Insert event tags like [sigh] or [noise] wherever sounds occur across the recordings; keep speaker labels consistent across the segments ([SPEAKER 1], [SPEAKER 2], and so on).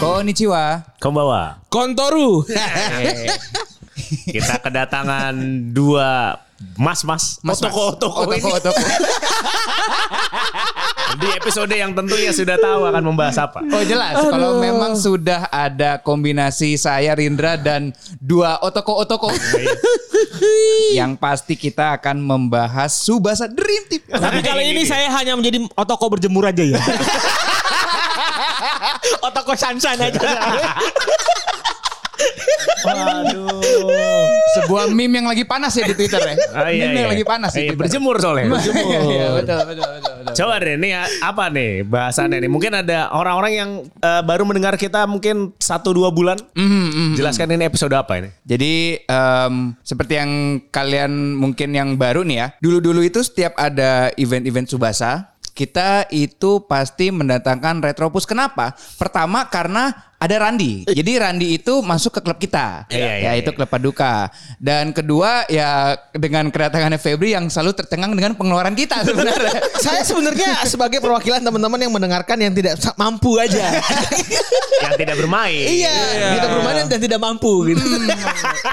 [SPEAKER 1] Konnichiwa.
[SPEAKER 2] Kombawa.
[SPEAKER 1] [laughs]
[SPEAKER 3] Kontoru.
[SPEAKER 2] Eh, Kita kedatangan dua mas-mas otoko-otoko ini.
[SPEAKER 1] Otoko, otoko.
[SPEAKER 2] di episode yang tentunya sudah tahu akan membahas apa.
[SPEAKER 1] Oh jelas, kalau memang sudah ada kombinasi saya Rindra dan dua
[SPEAKER 2] [laughs]
[SPEAKER 1] otoko-otoko. yang pasti kita akan membahas Subasa Dream Team.
[SPEAKER 3] Tapi kali ini saya hanya menjadi otoko berjemur aja
[SPEAKER 4] [laughs]
[SPEAKER 3] ya. otoko sansan aja.
[SPEAKER 1] Sebuah meme yang lagi panas ya di Twitter ya.
[SPEAKER 2] Ah, iya,
[SPEAKER 1] meme
[SPEAKER 2] iya.
[SPEAKER 1] yang lagi panas
[SPEAKER 2] Iya,
[SPEAKER 1] di Twitter.
[SPEAKER 2] berjemur soalnya.
[SPEAKER 1] Iya, iya, betul, betul, betul, betul.
[SPEAKER 2] Coba deh nih apa nih bahasannya nih? Mungkin ada orang-orang yang eh, baru mendengar kita mungkin satu dua bulan.
[SPEAKER 1] Mhm,
[SPEAKER 2] Jelaskan ini episode apa ini?
[SPEAKER 1] Jadi em, seperti yang kalian mungkin yang baru nih ya. Dulu-dulu itu setiap ada event-event Subasa, kita itu pasti mendatangkan Retropus. Kenapa? Pertama karena ada Randi. Jadi Randi itu masuk ke klub kita.
[SPEAKER 2] Iya, iya, iya.
[SPEAKER 1] yaitu klub Paduka. Dan kedua ya dengan kedatangannya Febri yang selalu tercengang dengan pengeluaran kita sebenarnya.
[SPEAKER 2] [laughs]
[SPEAKER 4] saya sebenarnya sebagai perwakilan teman-teman yang mendengarkan yang tidak sa- mampu aja. [laughs]
[SPEAKER 2] Yang tidak bermain.
[SPEAKER 4] iya, kita bermain dan tidak mampu gitu.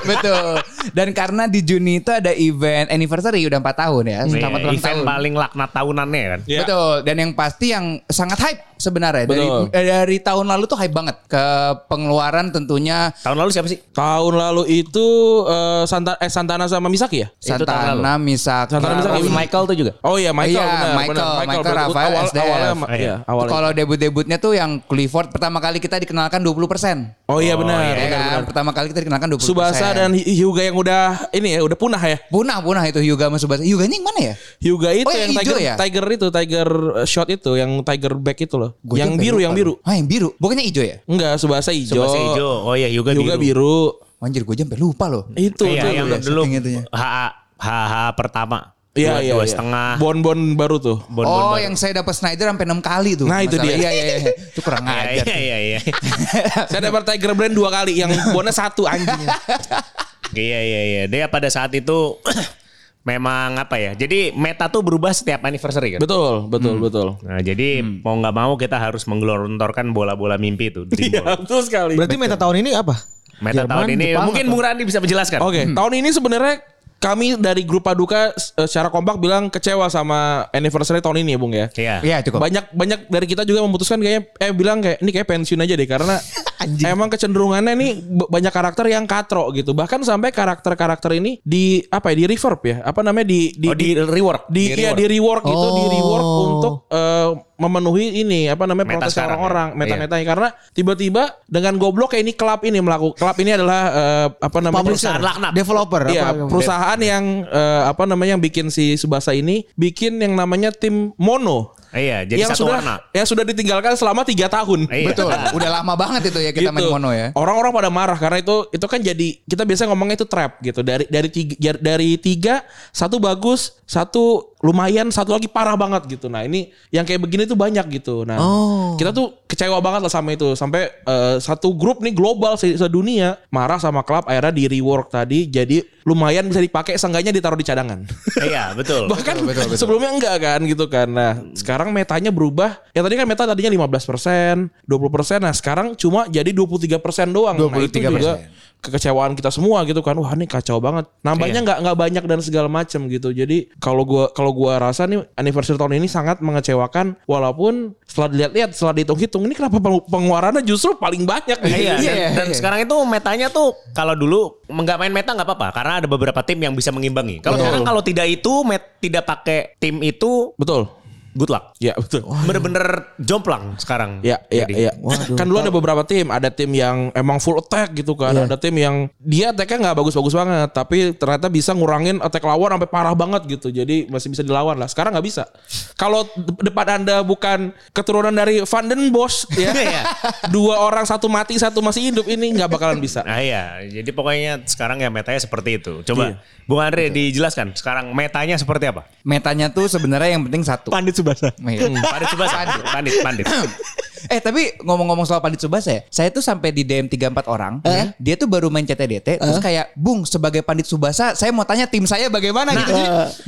[SPEAKER 1] Betul. Dan karena di Juni itu ada event anniversary udah 4 tahun ya.
[SPEAKER 2] Nih,
[SPEAKER 1] Selamat ulang
[SPEAKER 2] Iya, event
[SPEAKER 1] tahun.
[SPEAKER 2] paling laknat tahunannya kan.
[SPEAKER 3] Iya.
[SPEAKER 1] Betul. Dan yang pasti yang sangat hype sebenarnya dari
[SPEAKER 3] Betul.
[SPEAKER 1] eh, dari tahun lalu tuh hype banget ke pengeluaran tentunya
[SPEAKER 2] Tahun lalu siapa sih?
[SPEAKER 3] Tahun lalu itu eh, Santa- eh, Santana sama Misaki ya?
[SPEAKER 2] Itu tahun
[SPEAKER 1] Santana Misaki.
[SPEAKER 3] Santana Misaki.
[SPEAKER 1] Rafi Iya, Michael tuh juga.
[SPEAKER 3] Oh iya Michael,
[SPEAKER 1] Iya,
[SPEAKER 3] benar,
[SPEAKER 1] Michael,
[SPEAKER 3] benar.
[SPEAKER 1] Michael
[SPEAKER 3] berarti
[SPEAKER 1] Rafael
[SPEAKER 3] awal,
[SPEAKER 1] SDF.
[SPEAKER 3] awalnya, ma-
[SPEAKER 2] Iya.
[SPEAKER 3] iya, awalnya.
[SPEAKER 1] Kalau debut-debutnya tuh yang Clifford pertama kali kita dikenalkan 20%.
[SPEAKER 3] Oh iya benar,
[SPEAKER 1] Ya
[SPEAKER 3] benar,
[SPEAKER 1] kan?
[SPEAKER 3] benar.
[SPEAKER 1] Pertama kali kita dikenalkan 20%.
[SPEAKER 3] Subasa dan Hy- Hyuga yang udah ini ya, udah punah ya.
[SPEAKER 1] punah punah itu Hyuga sama Subasa. Hyuganya yang mana ya?
[SPEAKER 3] Hyuga itu
[SPEAKER 1] Oh, yang
[SPEAKER 3] yang,
[SPEAKER 1] hijau
[SPEAKER 3] tiger
[SPEAKER 1] ya?
[SPEAKER 3] tiger itu, tiger eh, shot itu, yang tiger back itu loh.
[SPEAKER 1] Gua
[SPEAKER 3] yang
[SPEAKER 1] juga
[SPEAKER 3] biru,
[SPEAKER 1] lupa
[SPEAKER 3] yang
[SPEAKER 1] loh.
[SPEAKER 3] biru.
[SPEAKER 1] Ah, yang biru. Bukannya hijau ya?
[SPEAKER 3] Enggak, Subasa hijau.
[SPEAKER 2] Coba hijau. Oh iya juga
[SPEAKER 3] Hyuga
[SPEAKER 2] biru.
[SPEAKER 3] biru.
[SPEAKER 1] Anjir, gue sampai lupa loh.
[SPEAKER 3] Itu
[SPEAKER 2] Iya,
[SPEAKER 3] tuh.
[SPEAKER 2] yang
[SPEAKER 1] iya,
[SPEAKER 2] dulu
[SPEAKER 1] setting itunya.
[SPEAKER 2] HA HH pertama.
[SPEAKER 3] Iya,
[SPEAKER 2] Dua-
[SPEAKER 3] iya,
[SPEAKER 2] dua
[SPEAKER 3] iya.
[SPEAKER 2] setengah.
[SPEAKER 3] Bon-bon baru tuh.
[SPEAKER 2] Bon-bon
[SPEAKER 1] oh,
[SPEAKER 2] baru.
[SPEAKER 1] yang saya dapat Snyder sampai 6 kali tuh.
[SPEAKER 3] Nah, itu
[SPEAKER 1] Masalah.
[SPEAKER 3] dia.
[SPEAKER 1] Iya, iya, iya. Itu
[SPEAKER 3] [laughs]
[SPEAKER 1] kurang
[SPEAKER 2] Iya,
[SPEAKER 1] ajar.
[SPEAKER 2] Iya iya iya.
[SPEAKER 3] Saya dapat Tiger Brand dua kali,
[SPEAKER 1] [laughs]
[SPEAKER 3] yang bonus satu anjing.
[SPEAKER 2] Iya iya iya. Dia pada saat itu [clears throat] memang apa ya? Jadi meta tuh berubah setiap anniversary kan.
[SPEAKER 3] betul, betul, betul.
[SPEAKER 2] Nah, jadi
[SPEAKER 3] Hmm.
[SPEAKER 2] mau nggak mau kita harus menggelontorkan bola-bola mimpi itu. dream ball.
[SPEAKER 3] [laughs] Betul sekali.
[SPEAKER 4] Berarti meta tahun ini apa?
[SPEAKER 2] Meta
[SPEAKER 4] Jerman,
[SPEAKER 2] tahun ini
[SPEAKER 4] Jepang
[SPEAKER 2] mungkin
[SPEAKER 4] atau-
[SPEAKER 2] Bung Randi bisa menjelaskan.
[SPEAKER 3] Oke, Hmm. tahun ini sebenarnya kami dari grup Paduka eh, secara kompak bilang kecewa sama anniversary tahun ini ya, Bung ya.
[SPEAKER 2] Iya.
[SPEAKER 1] Iya, cukup.
[SPEAKER 3] Banyak banyak dari kita juga memutuskan kayaknya eh bilang kayak ini kayak pensiun aja deh
[SPEAKER 2] [laughs]
[SPEAKER 3] karena emang kecenderungannya nih b- banyak karakter yang katro gitu. Bahkan sampai karakter-karakter ini di apa ya di reverb ya? Apa namanya di di
[SPEAKER 2] Oh, di rework. Oh.
[SPEAKER 3] di, iya, di rework gitu, di rework untuk eh, memenuhi ini apa namanya
[SPEAKER 2] Meta
[SPEAKER 3] protes
[SPEAKER 2] sekarang
[SPEAKER 3] orang-orang,
[SPEAKER 2] ya.
[SPEAKER 3] meta-metanya karena tiba-tiba dengan goblok kayak ini klub ini melakukan klub ini adalah eh, apa namanya
[SPEAKER 2] Perusahaan laknat.
[SPEAKER 4] Developer
[SPEAKER 3] Iya,
[SPEAKER 4] apa?
[SPEAKER 3] perusahaan yang eh, apa namanya yang bikin si Subasa ini bikin yang namanya tim mono.
[SPEAKER 2] Iya, jadi
[SPEAKER 3] yang
[SPEAKER 2] satu
[SPEAKER 3] sudah
[SPEAKER 2] warna.
[SPEAKER 3] yang sudah ditinggalkan selama tiga tahun.
[SPEAKER 2] Iya.
[SPEAKER 1] Betul. Udah lama banget itu ya kita main
[SPEAKER 3] Gitu.
[SPEAKER 1] mono ya.
[SPEAKER 3] Orang-orang pada marah karena itu itu kan jadi kita biasanya ngomongnya itu trap gitu. Dari dari tiga, jar- dari tiga satu bagus, satu lumayan, satu lagi parah banget gitu. Nah, ini yang kayak begini tuh banyak gitu. Nah,
[SPEAKER 2] Oh.
[SPEAKER 3] kita tuh kecewa banget lah sama itu. Sampai eh, satu grup nih global se- sedunia marah sama klub akhirnya di rework tadi jadi lumayan bisa dipakai seenggaknya ditaruh di cadangan.
[SPEAKER 2] Iya,
[SPEAKER 3] [laughs]
[SPEAKER 2] betul.
[SPEAKER 3] Bahkan sebelumnya enggak kan gitu kan. Nah, sekarang metanya berubah. Ya tadi kan meta tadinya 15%, 20%. Nah, sekarang cuma jadi 23% doang. Nah, itu juga kekecewaan kita semua gitu kan. Wah, ini kacau banget.
[SPEAKER 2] Iya.
[SPEAKER 3] Nambahnya enggak enggak banyak dan segala macam gitu. Jadi kalau gua kalau gua rasa nih anniversary tahun ini sangat mengecewakan walaupun setelah dilihat-lihat, setelah dihitung-hitung ini kenapa peng- pengeluarannya justru paling banyak gitu.
[SPEAKER 2] Iya, dan,
[SPEAKER 1] Iya,
[SPEAKER 2] dan
[SPEAKER 1] iya.
[SPEAKER 2] sekarang itu metanya tuh kalau dulu nggak main meta nggak apa-apa karena ada beberapa tim yang bisa mengimbangi. Kalau sekarang kalau tidak itu met, tidak pakai tim itu
[SPEAKER 3] Betul.
[SPEAKER 2] good luck.
[SPEAKER 3] Ya betul.
[SPEAKER 2] Bener-bener jomplang sekarang.
[SPEAKER 3] Ya, ya,
[SPEAKER 2] Nah, Jadi,
[SPEAKER 3] ya. Kan dulu ada beberapa tim, ada tim yang emang full attack gitu
[SPEAKER 2] Iya.
[SPEAKER 3] kan, ada tim yang dia attacknya nggak bagus-bagus banget, tapi ternyata bisa ngurangin attack lawan sampai parah banget gitu, jadi masih bisa dilawan lah. Sekarang nggak bisa. Kalau de- depan anda bukan keturunan dari Vanden Bosch ya,
[SPEAKER 2] [laughs] Iya.
[SPEAKER 3] dua orang satu mati satu masih hidup ini nggak bakalan bisa.
[SPEAKER 2] Nah iya, jadi pokoknya sekarang ya metanya seperti itu. Coba Bung Andre dijelaskan sekarang metanya seperti apa?
[SPEAKER 1] Metanya tuh sebenarnya yang penting satu.
[SPEAKER 4] Pandit Subasa.
[SPEAKER 1] Iya.
[SPEAKER 2] [laughs] Pandit coba pandit, pandit, pandit.
[SPEAKER 1] eh tapi ngomong-ngomong soal Pandit Subasa ya, saya tuh sampai di DM 34 orang, ya, dia tuh baru main CTDT, terus kayak, Bung sebagai Pandit Subasa, saya mau tanya tim saya bagaimana gitu. Jadi,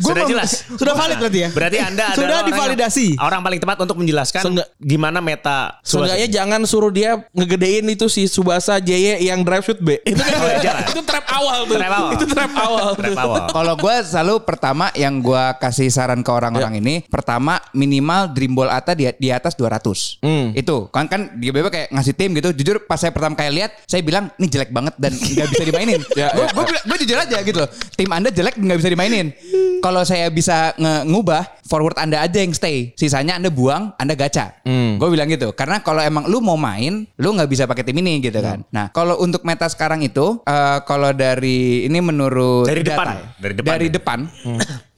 [SPEAKER 1] gua
[SPEAKER 2] sudah
[SPEAKER 1] mau-
[SPEAKER 2] jelas.
[SPEAKER 4] Sudah valid berarti ya?
[SPEAKER 2] Berarti Anda
[SPEAKER 4] Sudah
[SPEAKER 2] adalah orang yang-
[SPEAKER 4] divalidasi.
[SPEAKER 2] Orang, paling tepat untuk menjelaskan
[SPEAKER 3] Seenggak-
[SPEAKER 2] gimana meta
[SPEAKER 3] Seenggaknya jangan suruh dia ngegedein itu si Subasa JY yang drive shoot B. Itu [laughs] kan
[SPEAKER 2] Oh, jangan.
[SPEAKER 3] itu trap awal tuh.
[SPEAKER 2] Trap awal.
[SPEAKER 3] gitu. Itu trap awal.
[SPEAKER 2] Trap awal.
[SPEAKER 1] Kalau gue selalu pertama yang gue kasih saran ke
[SPEAKER 3] Ya.
[SPEAKER 1] orang-orang ini, pertama minimal dream ball Ata di, di atas 200.
[SPEAKER 3] Hmm.
[SPEAKER 1] Itu kan kan dia bebek kayak ngasih tim gitu. Jujur pas saya pertama kali lihat, saya bilang ini jelek banget dan nggak bisa dimainin.
[SPEAKER 3] [laughs] Ya,
[SPEAKER 1] gue jujur aja gitu loh. Tim anda jelek nggak bisa dimainin. Kalau saya bisa nge- ngubah forward anda aja yang stay, sisanya anda buang, anda gacha.
[SPEAKER 3] Hmm.
[SPEAKER 1] Gue bilang gitu. Karena kalau emang lu mau main, lu nggak bisa pakai tim ini gitu
[SPEAKER 3] Ya.
[SPEAKER 1] kan. Nah kalau untuk meta sekarang itu, eh, kalau dari ini menurut
[SPEAKER 2] Dari
[SPEAKER 1] data
[SPEAKER 2] depan.
[SPEAKER 1] ya.
[SPEAKER 2] Dari
[SPEAKER 1] Dari
[SPEAKER 2] depan
[SPEAKER 1] depan.
[SPEAKER 2] ya.
[SPEAKER 1] [clears throat]
[SPEAKER 3] Hmm.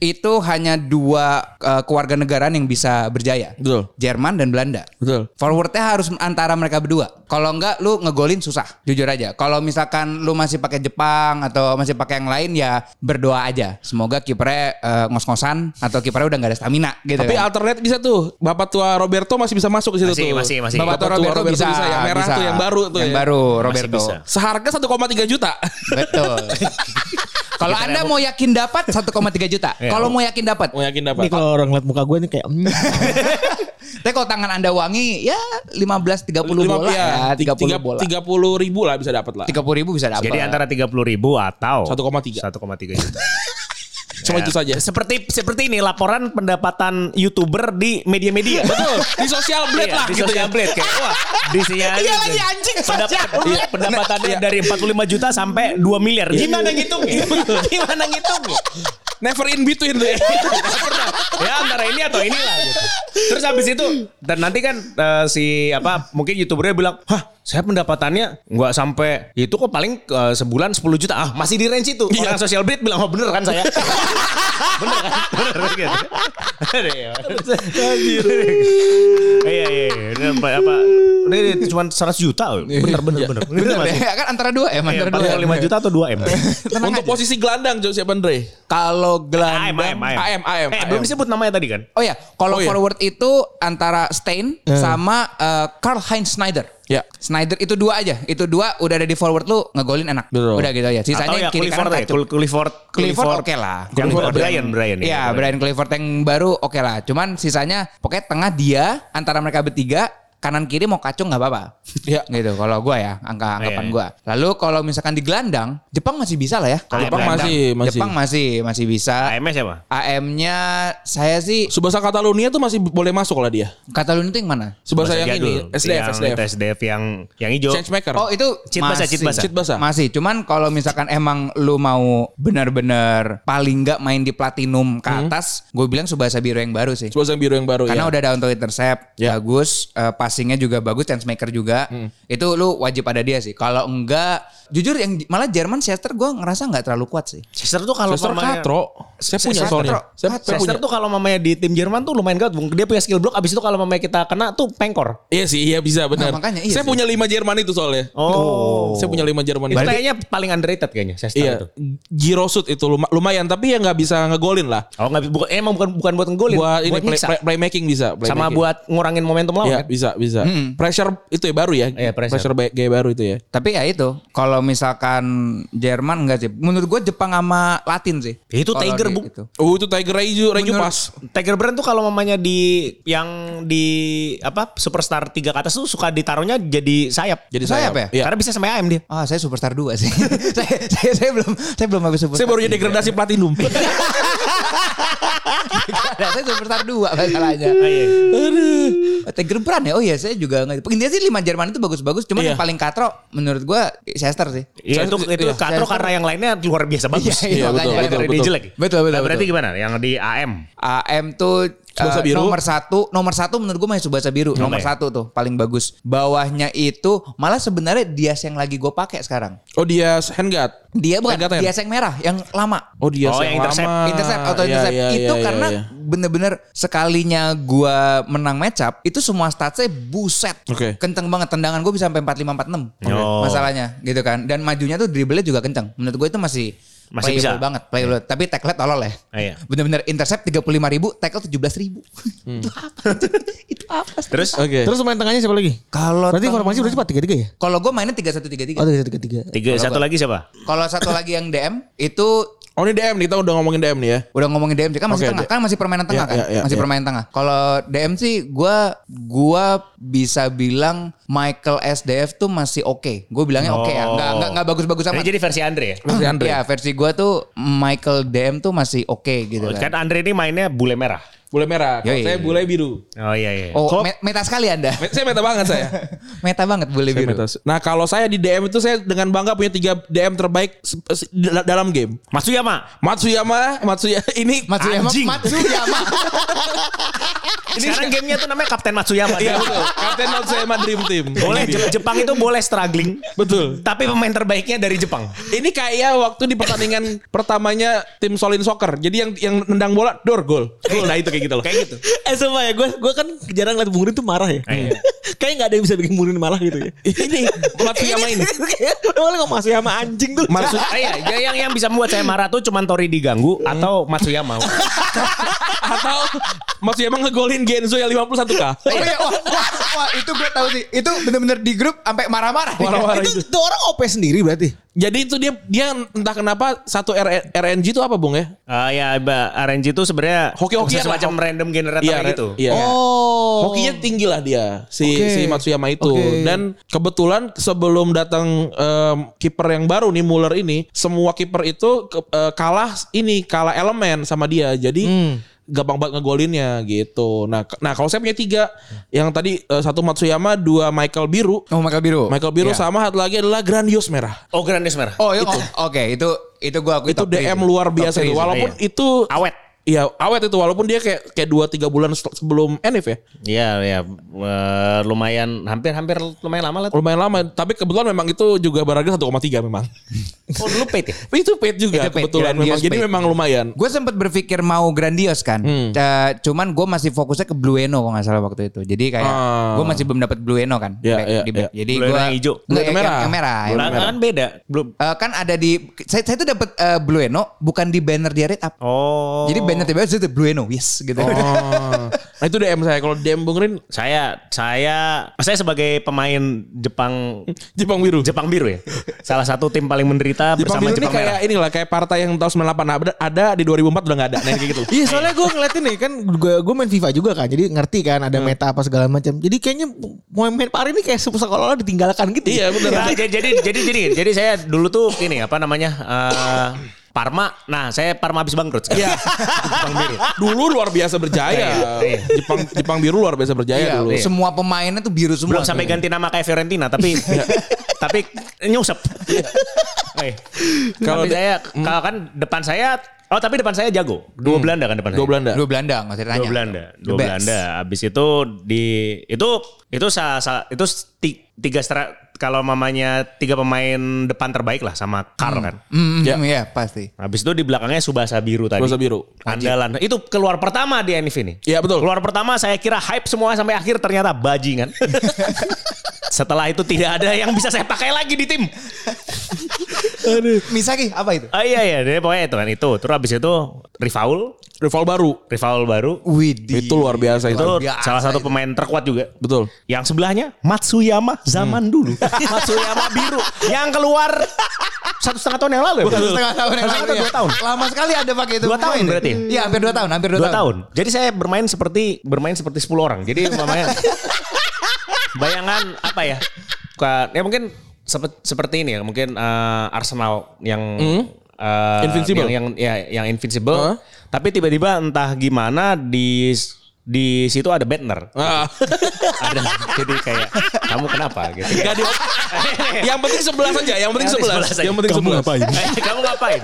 [SPEAKER 1] itu hanya dua eh, keluarga negaraan yang bisa berjaya.
[SPEAKER 3] Betul.
[SPEAKER 1] Jerman dan Belanda.
[SPEAKER 3] Betul.
[SPEAKER 1] Forwardnya harus antara mereka berdua. Kalau enggak lu ngegolin susah, jujur aja. Kalau misalkan lu masih pakai Jepang atau masih pakai yang lain ya berdoa aja. Semoga kipernya eh, ngos-ngosan atau kipernya udah nggak ada stamina gitu.
[SPEAKER 3] Tapi
[SPEAKER 1] kan.
[SPEAKER 3] alternate bisa tuh. Bapak tua Roberto masih bisa masuk ke situ
[SPEAKER 2] Masih,
[SPEAKER 3] tuh.
[SPEAKER 2] masih, masih.
[SPEAKER 3] Bapak tua Roberto, bisa, yang merah
[SPEAKER 1] bisa.
[SPEAKER 3] tuh yang baru tuh.
[SPEAKER 1] Yang
[SPEAKER 3] ya.
[SPEAKER 1] baru
[SPEAKER 2] Masih
[SPEAKER 1] Roberto.
[SPEAKER 2] bisa.
[SPEAKER 3] Seharga 1,3 juta. [laughs]
[SPEAKER 1] Betul. Kalau Anda mau yakin dapat 1,3 juta.
[SPEAKER 2] Iya.
[SPEAKER 1] Kalau mau yakin dapat.
[SPEAKER 3] Mau yakin dapat.
[SPEAKER 4] Ini kalau orang lihat muka gue ini kayak mm.
[SPEAKER 1] Tapi kalau tangan Anda wangi ya 15 30
[SPEAKER 3] Lima-
[SPEAKER 1] bola
[SPEAKER 3] ya,
[SPEAKER 1] ya,
[SPEAKER 3] tiga-
[SPEAKER 1] 30
[SPEAKER 3] tiga-
[SPEAKER 1] bola. Iya.
[SPEAKER 3] 30 ribu lah bisa dapat lah.
[SPEAKER 1] 30 ribu bisa dapat.
[SPEAKER 2] Jadi antara 30 ribu atau
[SPEAKER 3] 1,3.
[SPEAKER 2] 1,3 juta.
[SPEAKER 3] Cuma
[SPEAKER 2] Ya.
[SPEAKER 3] itu saja.
[SPEAKER 2] [laughs] Seperti seperti ini laporan pendapatan youtuber di media-media.
[SPEAKER 3] Betul. Di sosial blade
[SPEAKER 2] Iya,
[SPEAKER 3] lah
[SPEAKER 2] di
[SPEAKER 3] gitu
[SPEAKER 2] social
[SPEAKER 3] ya.
[SPEAKER 2] blade kayak wah di sini aja.
[SPEAKER 1] Iya lagi anjing
[SPEAKER 2] Pendapat, iya, pendapatannya dari 45 juta sampai 2 miliar. Gimana ngitungnya? [laughs] Gimana ngitungnya?
[SPEAKER 3] Never in between tuh ya.
[SPEAKER 2] ya antara ini atau inilah gitu. Terus habis itu dan nanti kan eh, si apa mungkin youtubernya bilang, "Hah, saya pendapatannya nggak sampai itu kok paling eh, sebulan 10 juta." Ah, masih di range itu. Orang social blade bilang, "Oh, bener kan saya?" bener kan? Bener kan? gitu. Iya, iya, iya. Ini apa? apa- Ini cuma 100 juta. oh. Bener, bener, bener. Bener,
[SPEAKER 1] Bener ya kan antara dua
[SPEAKER 2] Iya,
[SPEAKER 1] ya, antara dua.
[SPEAKER 2] 45 juta atau 2 M?
[SPEAKER 1] Tenang
[SPEAKER 3] [laughs] Untuk
[SPEAKER 1] aja.
[SPEAKER 3] posisi gelandang Jo, siapa Andre?
[SPEAKER 1] Kalau
[SPEAKER 2] AM,
[SPEAKER 1] gelandang
[SPEAKER 2] AM, AM.
[SPEAKER 3] AM, AM.
[SPEAKER 2] Eh, belum disebut namanya tadi kan?
[SPEAKER 1] Oh ya, kalau
[SPEAKER 3] Oh iya. Hmm.
[SPEAKER 1] forward itu antara Stein sama Karl Heinz Schneider.
[SPEAKER 3] Ya.
[SPEAKER 1] Schneider itu dua aja. Itu dua udah ada di forward lu ngegolin enak.
[SPEAKER 3] Betul.
[SPEAKER 1] Udah gitu aja.
[SPEAKER 2] Atau
[SPEAKER 1] Sisanya
[SPEAKER 2] ya
[SPEAKER 1] kiri
[SPEAKER 2] Clifford
[SPEAKER 1] kanan
[SPEAKER 2] ya?
[SPEAKER 1] kacau.
[SPEAKER 2] Clifford, Clifford,
[SPEAKER 1] Clifford oke lah.
[SPEAKER 2] Yang
[SPEAKER 1] Clifford
[SPEAKER 2] Brian, Brian. ya.
[SPEAKER 1] Iya, Brian Clifford yang baru oke lah. Cuman sisanya pokoknya tengah dia antara mereka bertiga kanan kiri mau kacung nggak apa-apa. [laughs]
[SPEAKER 3] Iya.
[SPEAKER 1] Gitu kalau gua ya angka anggapan
[SPEAKER 2] Iya, iya.
[SPEAKER 1] gua. Lalu kalau misalkan di gelandang Jepang masih bisa lah ya. Kalau
[SPEAKER 2] Jepang
[SPEAKER 1] gelandang.
[SPEAKER 3] masih, masih.
[SPEAKER 1] Jepang masih masih bisa.
[SPEAKER 2] AMS siapa?
[SPEAKER 1] AM-nya saya sih
[SPEAKER 3] Subasa Catalunya tuh masih boleh masuk lah dia.
[SPEAKER 1] Catalunya itu yang mana?
[SPEAKER 3] Subasa yang
[SPEAKER 2] jadul.
[SPEAKER 3] ini SDF
[SPEAKER 2] yang
[SPEAKER 3] SDF.
[SPEAKER 2] itu SDF yang yang hijau.
[SPEAKER 3] Change maker.
[SPEAKER 1] Oh itu
[SPEAKER 2] Cheat basa,
[SPEAKER 1] masih.
[SPEAKER 2] cheat basa.
[SPEAKER 3] Cheat basa.
[SPEAKER 1] Masih, cuman kalau misalkan emang lu mau benar-benar paling nggak main di platinum ke
[SPEAKER 3] Hmm.
[SPEAKER 1] atas, gue bilang Subasa Biru yang baru sih.
[SPEAKER 3] Subasa yang biru yang baru
[SPEAKER 1] Karena
[SPEAKER 3] ya.
[SPEAKER 1] udah ada untuk intercept,
[SPEAKER 3] Ya.
[SPEAKER 1] bagus, eh, passingnya juga bagus, chance maker juga. Itu lu wajib ada dia sih. Kalau enggak, jujur yang malah Jerman Chester gue ngerasa nggak terlalu kuat sih.
[SPEAKER 2] Chester tuh kalau
[SPEAKER 3] Suster
[SPEAKER 2] mamanya
[SPEAKER 3] Katro, saya punya
[SPEAKER 1] Suster
[SPEAKER 3] soalnya.
[SPEAKER 1] Katro.
[SPEAKER 3] Saya saya punya.
[SPEAKER 2] Chester tuh kalau mamanya di tim Jerman tuh lumayan kuat. Bung. Dia punya skill block abis itu kalau mamanya kita kena tuh pengkor.
[SPEAKER 3] Iya sih, iya bisa benar.
[SPEAKER 1] Nah, makanya iya
[SPEAKER 3] saya
[SPEAKER 1] sih.
[SPEAKER 3] punya lima Jerman itu soalnya.
[SPEAKER 2] Oh.
[SPEAKER 3] Saya punya lima Jerman
[SPEAKER 2] Itu
[SPEAKER 3] itu.
[SPEAKER 2] kayaknya paling underrated kayaknya Chester itu.
[SPEAKER 3] Iya, Girosut itu luma- lumayan tapi ya nggak bisa ngegolin lah.
[SPEAKER 2] Oh nggak bukan emang bukan bukan buat ngegolin,
[SPEAKER 3] Buat ini play-
[SPEAKER 2] nyiksa.
[SPEAKER 3] play- playmaking bisa,
[SPEAKER 2] sama
[SPEAKER 3] playmaking.
[SPEAKER 2] buat ngurangin momentum lawan
[SPEAKER 3] Iya,
[SPEAKER 2] kan.
[SPEAKER 3] bisa, bisa. Pressure itu ya baru ya.
[SPEAKER 2] Iya, pressure.
[SPEAKER 3] ba- gaya baru itu ya.
[SPEAKER 1] Tapi ya itu, kalau misalkan Jerman enggak sih. Menurut gue Jepang sama Latin sih.
[SPEAKER 2] Itu
[SPEAKER 1] Kalau
[SPEAKER 2] Tiger,
[SPEAKER 1] di-
[SPEAKER 2] Bu.
[SPEAKER 1] itu.
[SPEAKER 3] Oh, itu Tiger Reju, Reju
[SPEAKER 1] Menurut-
[SPEAKER 3] pas.
[SPEAKER 2] Tiger Brand tuh kalau mamanya di yang di apa superstar tiga ke atas tuh suka ditaruhnya jadi sayap.
[SPEAKER 3] Jadi
[SPEAKER 1] Sayap
[SPEAKER 3] sayap.
[SPEAKER 1] ya?
[SPEAKER 3] Iya.
[SPEAKER 2] Karena bisa sama AM dia.
[SPEAKER 1] Ah, saya superstar 2 sih. [laughs] saya, saya saya belum saya belum habis superstar.
[SPEAKER 3] Saya baru jadi degradasi platinum.
[SPEAKER 1] Nah, [laughs] saya superstar 2 masalahnya. Aduh. Tiger Brand ya. Oh iya, saya juga enggak. Intinya sih 5 Jerman itu bagus-bagus, cuman
[SPEAKER 3] Iya.
[SPEAKER 1] yang paling katro menurut gua Chester sih.
[SPEAKER 2] Iya itu itu
[SPEAKER 3] Iya.
[SPEAKER 2] Katro karena yang lainnya luar biasa bagus.
[SPEAKER 1] Iya, iya,
[SPEAKER 3] Iya, betul,
[SPEAKER 2] Makanya
[SPEAKER 3] betul,
[SPEAKER 2] dari
[SPEAKER 3] betul.
[SPEAKER 2] dia jelek.
[SPEAKER 1] Betul, betul,
[SPEAKER 2] Nah, berarti
[SPEAKER 1] betul.
[SPEAKER 2] gimana? Yang di AM.
[SPEAKER 1] AM tuh
[SPEAKER 3] Subasa
[SPEAKER 1] eh,
[SPEAKER 3] Biru. ya?
[SPEAKER 1] nomor satu nomor satu menurut gue masih Subasa Biru nomor satu tuh paling bagus bawahnya itu malah sebenarnya Dias yang lagi gue pakai sekarang
[SPEAKER 3] Oh dia handguard.
[SPEAKER 1] dia bukan
[SPEAKER 3] Handguard ya?
[SPEAKER 1] Dias yang merah yang lama
[SPEAKER 3] Oh dia
[SPEAKER 2] Oh, yang
[SPEAKER 3] yang,
[SPEAKER 2] intercept.
[SPEAKER 3] lama.
[SPEAKER 1] intercept auto
[SPEAKER 3] Iya,
[SPEAKER 1] intercept
[SPEAKER 3] iya,
[SPEAKER 1] itu
[SPEAKER 3] iya, iya,
[SPEAKER 1] karena
[SPEAKER 3] iya.
[SPEAKER 1] bener-bener sekalinya gua menang match up itu semua statsnya buset
[SPEAKER 3] Oke.
[SPEAKER 1] kenceng banget tendangan gue bisa sampai 45 46
[SPEAKER 2] Oh.
[SPEAKER 1] masalahnya gitu kan dan majunya tuh dribblenya juga kenceng menurut gue itu masih
[SPEAKER 2] Masih
[SPEAKER 1] playable
[SPEAKER 2] bisa.
[SPEAKER 1] banget playable tapi tackle tolol ya
[SPEAKER 2] Ah, iya.
[SPEAKER 1] bener-bener intercept 35 ribu tackle 17 ribu
[SPEAKER 3] Hmm.
[SPEAKER 1] itu apa itu apa
[SPEAKER 2] Terus
[SPEAKER 3] Oke.
[SPEAKER 4] Terus main tengahnya siapa lagi?
[SPEAKER 1] kalau
[SPEAKER 4] Berarti
[SPEAKER 1] tengah-
[SPEAKER 4] formasi berarti 4-3-3 ya?
[SPEAKER 1] kalau gue mainnya 3133
[SPEAKER 4] Oh, 3-3-3.
[SPEAKER 2] tiga satu lagi siapa?
[SPEAKER 1] kalau satu lagi yang DM itu
[SPEAKER 3] Oh ini DM nih, kita udah ngomongin DM nih ya.
[SPEAKER 1] Udah ngomongin DM sih, kan masih tengah,
[SPEAKER 3] Oke, D-
[SPEAKER 1] kan masih permainan tengah
[SPEAKER 3] Iya,
[SPEAKER 1] kan?
[SPEAKER 3] iya, iya,
[SPEAKER 1] masih
[SPEAKER 3] iya.
[SPEAKER 1] permainan tengah. Kalau DM sih gua gua bisa bilang Michael SDF tuh masih oke. Gue bilangnya oke ya. Enggak enggak enggak bagus-bagus amat.
[SPEAKER 2] Ini jadi versi Andre ya?
[SPEAKER 3] Oh. Versi Andre.
[SPEAKER 1] [clears throat] Iya, versi gua tuh Michael DM tuh masih oke gitu
[SPEAKER 2] Oh,
[SPEAKER 1] kan.
[SPEAKER 2] Kan Andre ini mainnya bule merah.
[SPEAKER 3] Bule merah, kalau
[SPEAKER 1] Yoi.
[SPEAKER 3] saya bule biru.
[SPEAKER 2] Oh iya iya.
[SPEAKER 1] Oh,
[SPEAKER 2] Kalau-
[SPEAKER 1] me- meta sekali
[SPEAKER 3] [laughs]
[SPEAKER 1] Anda.
[SPEAKER 3] Me- Saya meta banget saya.
[SPEAKER 1] meta banget boleh
[SPEAKER 3] Saya
[SPEAKER 1] biru.
[SPEAKER 3] meta. Nah kalau saya di DM itu saya dengan bangga punya tiga DM terbaik se- se- dal- dalam game.
[SPEAKER 2] Matsuyama.
[SPEAKER 3] Matsuyama, Matsuya [laughs] ini
[SPEAKER 1] Matsuyama,
[SPEAKER 2] Anjing.
[SPEAKER 1] Matsuyama.
[SPEAKER 2] Sekarang gamenya tuh namanya Kapten Matsuyama.
[SPEAKER 3] Iya betul. Kapten Matsuyama Dream Team.
[SPEAKER 2] Boleh
[SPEAKER 3] Ini dia.
[SPEAKER 2] Je- Jepang itu boleh struggling.
[SPEAKER 3] Betul.
[SPEAKER 2] Tapi pemain terbaiknya dari Jepang.
[SPEAKER 3] Ini kayak waktu di pertandingan pertamanya tim Solin Soccer. Jadi yang yang nendang bola dor gol. Gol. Nah itu kayak gitu loh.
[SPEAKER 2] Kayak gitu.
[SPEAKER 4] Eh sumpah ya, gue gua kan jarang liat Bung Rin tuh marah ya. [laughs]
[SPEAKER 2] Iya.
[SPEAKER 4] Kayaknya gak ada yang bisa bikin Bung Rin marah gitu ya.
[SPEAKER 3] ini Matsuyama
[SPEAKER 4] [laughs]
[SPEAKER 3] ini.
[SPEAKER 4] Udah malah ngomong Matsuyama anjing tuh.
[SPEAKER 3] Matsuyama
[SPEAKER 2] [laughs] Ah,
[SPEAKER 3] [laughs]
[SPEAKER 2] iya, ya, yang yang bisa membuat saya marah tuh cuman Tori diganggu
[SPEAKER 3] Hmm.
[SPEAKER 2] atau
[SPEAKER 3] [laughs]
[SPEAKER 2] Matsuyama.
[SPEAKER 3] atau Matsuyama ngegolin Genzo yang 51k.
[SPEAKER 1] Oh iya, wah, wah, wah, itu gue tahu sih. Itu bener-bener di grup sampai marah-marah.
[SPEAKER 3] Warna-warna
[SPEAKER 4] itu,
[SPEAKER 3] itu.
[SPEAKER 4] itu orang OP sendiri berarti.
[SPEAKER 3] Jadi itu dia dia entah kenapa satu R- RNG itu apa bung ya?
[SPEAKER 2] Ah ya ba- RNG itu sebenarnya
[SPEAKER 3] Hoki-hokian lah,
[SPEAKER 2] semacam random generator
[SPEAKER 3] Iya,
[SPEAKER 2] gitu.
[SPEAKER 3] Iya.
[SPEAKER 4] Oh.
[SPEAKER 3] Hokinya tinggi lah dia si
[SPEAKER 4] Oke.
[SPEAKER 3] si Matsuyama itu
[SPEAKER 4] Oke.
[SPEAKER 3] dan kebetulan sebelum datang em, kiper yang baru nih Muller ini semua kiper itu ke- eh, kalah ini kalah elemen sama dia jadi
[SPEAKER 4] Hmm.
[SPEAKER 3] gampang banget ngegolinnya gitu. Nah ke- nah kalau saya punya tiga yang tadi eh, satu Matsuyama dua Michael Biru
[SPEAKER 1] Oh, Michael Biru.
[SPEAKER 3] Michael Biru sama satu lagi adalah Grandios merah.
[SPEAKER 2] Oh, Grandes merah.
[SPEAKER 1] Oh, iya, oh, oke, itu itu gue akui
[SPEAKER 3] Itu
[SPEAKER 1] top three
[SPEAKER 3] DM
[SPEAKER 1] sih.
[SPEAKER 3] luar
[SPEAKER 1] Top
[SPEAKER 3] biasa
[SPEAKER 1] three
[SPEAKER 3] itu
[SPEAKER 1] sih.
[SPEAKER 3] walaupun
[SPEAKER 2] iya.
[SPEAKER 3] itu
[SPEAKER 2] Awet.
[SPEAKER 3] Iya awet itu walaupun dia kayak kayak dua tiga bulan se- sebelum Enif ya.
[SPEAKER 2] Iya, ya. lumayan hampir-hampir lumayan lama lah. tuh.
[SPEAKER 3] Eh, lumayan lama tapi kebetulan memang itu juga berharga 1,3 memang
[SPEAKER 2] Oh, dulu paid ya?
[SPEAKER 3] [laughs] itu paid juga
[SPEAKER 1] Itu paid,
[SPEAKER 3] kebetulan
[SPEAKER 1] Grandios
[SPEAKER 3] memang Iya, jadi
[SPEAKER 1] paid.
[SPEAKER 3] memang lumayan
[SPEAKER 1] Gue sempat berpikir mau grandios kan,
[SPEAKER 3] Hmm.
[SPEAKER 1] Eh, cuman gue masih fokusnya ke Blueno kalau nggak salah waktu itu. Jadi kayak
[SPEAKER 3] Ah.
[SPEAKER 1] gue masih belum dapat Blueno kan,
[SPEAKER 3] Iya,
[SPEAKER 1] back-
[SPEAKER 3] iya,
[SPEAKER 1] di back.
[SPEAKER 3] iya.
[SPEAKER 1] Jadi
[SPEAKER 2] Blue
[SPEAKER 1] gue
[SPEAKER 2] yang hijau.
[SPEAKER 3] Blue yang merah.
[SPEAKER 1] merah. Yang merah. yang
[SPEAKER 2] Lah,
[SPEAKER 1] merah.
[SPEAKER 2] kan beda. Belum.
[SPEAKER 1] ya. Eh, kan ada di saya, saya tuh dapat eh, Blueno bukan di banner di Red Up.
[SPEAKER 2] Oh.
[SPEAKER 1] Jadi banner tiba itu Blueno, yes gitu.
[SPEAKER 3] [laughs]
[SPEAKER 1] [laughs]
[SPEAKER 3] oh. nah itu DM saya kalau DM Bung Rin
[SPEAKER 2] saya saya saya sebagai pemain Jepang
[SPEAKER 3] [laughs] Jepang Biru
[SPEAKER 2] Jepang biru ya. Salah satu tim paling menderita bersama
[SPEAKER 3] Jepang Biru ini
[SPEAKER 2] Jepang
[SPEAKER 3] kayak
[SPEAKER 2] merah.
[SPEAKER 3] inilah kayak partai yang tahun 98 ada, ada di 2004 udah nggak ada nah kayak gitu
[SPEAKER 4] Iya soalnya gue ngeliatin nih kan gue gue main FIFA juga kan jadi ngerti kan
[SPEAKER 3] Hmm.
[SPEAKER 4] ada meta apa segala macam jadi kayaknya mau main pari ini kayak seolah-olah ditinggalkan gitu
[SPEAKER 3] iya bener
[SPEAKER 2] Nah, jadi jadi jadi jadi jadi saya dulu tuh ini apa namanya? eh, Parma. Nah, saya Parma habis bangkrut. [laughs] Iya. Jepang biru.
[SPEAKER 3] [laughs] dulu luar biasa berjaya
[SPEAKER 2] Iya.
[SPEAKER 3] gitu. Jepang Jepang Biru luar biasa berjaya
[SPEAKER 1] Iya,
[SPEAKER 3] dulu
[SPEAKER 1] semua pemainnya tuh biru semua.
[SPEAKER 2] Belum sampai
[SPEAKER 1] tuh.
[SPEAKER 2] ganti nama kayak Fiorentina tapi tapi nyusep. Eh, Kalau
[SPEAKER 3] Kalau de-
[SPEAKER 2] saya kalau kan depan saya oh tapi depan saya jago. Dua Belanda kan depan
[SPEAKER 3] Dua
[SPEAKER 2] saya.
[SPEAKER 3] Belanda
[SPEAKER 1] Dua Belanda nggak usah ditanya.
[SPEAKER 2] Dua Belanda,
[SPEAKER 1] The
[SPEAKER 2] dua
[SPEAKER 1] best.
[SPEAKER 2] Belanda. Abis itu di itu itu salah, salah- itu ti- tiga stra- kalau mamanya tiga pemain depan terbaik lah sama Karl kan.
[SPEAKER 1] Hmm,
[SPEAKER 3] Ya.
[SPEAKER 1] iya pasti.
[SPEAKER 2] Habis itu di belakangnya Subasa Biru tadi.
[SPEAKER 3] Subasa Biru.
[SPEAKER 2] Andalan. Nah, Itu keluar pertama di NF ini.
[SPEAKER 3] Iya, betul.
[SPEAKER 2] Keluar pertama saya kira hype semua sampai akhir ternyata
[SPEAKER 1] [laughs]
[SPEAKER 2] bajingan. Setelah itu tidak ada yang bisa saya pakai lagi di tim.
[SPEAKER 1] Misaki apa itu?
[SPEAKER 2] Ah iya iya, dia pokoknya itu kan itu. Terus habis itu Rifaul,
[SPEAKER 3] rival baru
[SPEAKER 2] Rifaul baru.
[SPEAKER 1] Widih.
[SPEAKER 3] itu luar biasa itu
[SPEAKER 2] itu
[SPEAKER 1] Uh, luar biasa
[SPEAKER 2] salah satu
[SPEAKER 1] itu.
[SPEAKER 2] pemain terkuat juga.
[SPEAKER 3] betul
[SPEAKER 2] Yang sebelahnya Matsuyama zaman
[SPEAKER 1] Hmm. [laughs]
[SPEAKER 2] dulu. Matsuyama biru yang keluar satu setengah tahun yang lalu ya. Bang?
[SPEAKER 1] Satu setengah tahun yang
[SPEAKER 2] Satu
[SPEAKER 1] lalu
[SPEAKER 2] atau
[SPEAKER 1] ya.
[SPEAKER 2] dua tahun.
[SPEAKER 1] Lama sekali ada pakai itu.
[SPEAKER 2] Dua tahun
[SPEAKER 1] pemain ya.
[SPEAKER 2] berarti.
[SPEAKER 1] Iya hampir dua tahun, hampir dua,
[SPEAKER 2] Dua
[SPEAKER 1] tahun.
[SPEAKER 2] tahun. Jadi saya bermain seperti bermain seperti 10 orang. Jadi mamanya
[SPEAKER 3] [laughs]
[SPEAKER 2] bayangan apa ya? Ka- Ya mungkin sepe- seperti ini ya, mungkin eh, Arsenal yang eh,
[SPEAKER 3] Hmm? Invincible.
[SPEAKER 2] yang yang ya, yang invincible.
[SPEAKER 3] Huh?
[SPEAKER 2] Tapi tiba-tiba entah gimana di di situ ada banner.
[SPEAKER 3] [laughs] Ah.
[SPEAKER 2] ada jadi kayak kamu kenapa gitu.
[SPEAKER 3] Nggak [laughs] di- yang penting sebelas aja yang penting
[SPEAKER 2] Nanti
[SPEAKER 3] sebelas
[SPEAKER 2] sebelas aja.
[SPEAKER 3] yang penting
[SPEAKER 2] Kamu
[SPEAKER 3] sebelas
[SPEAKER 2] Eh, kamu ngapain?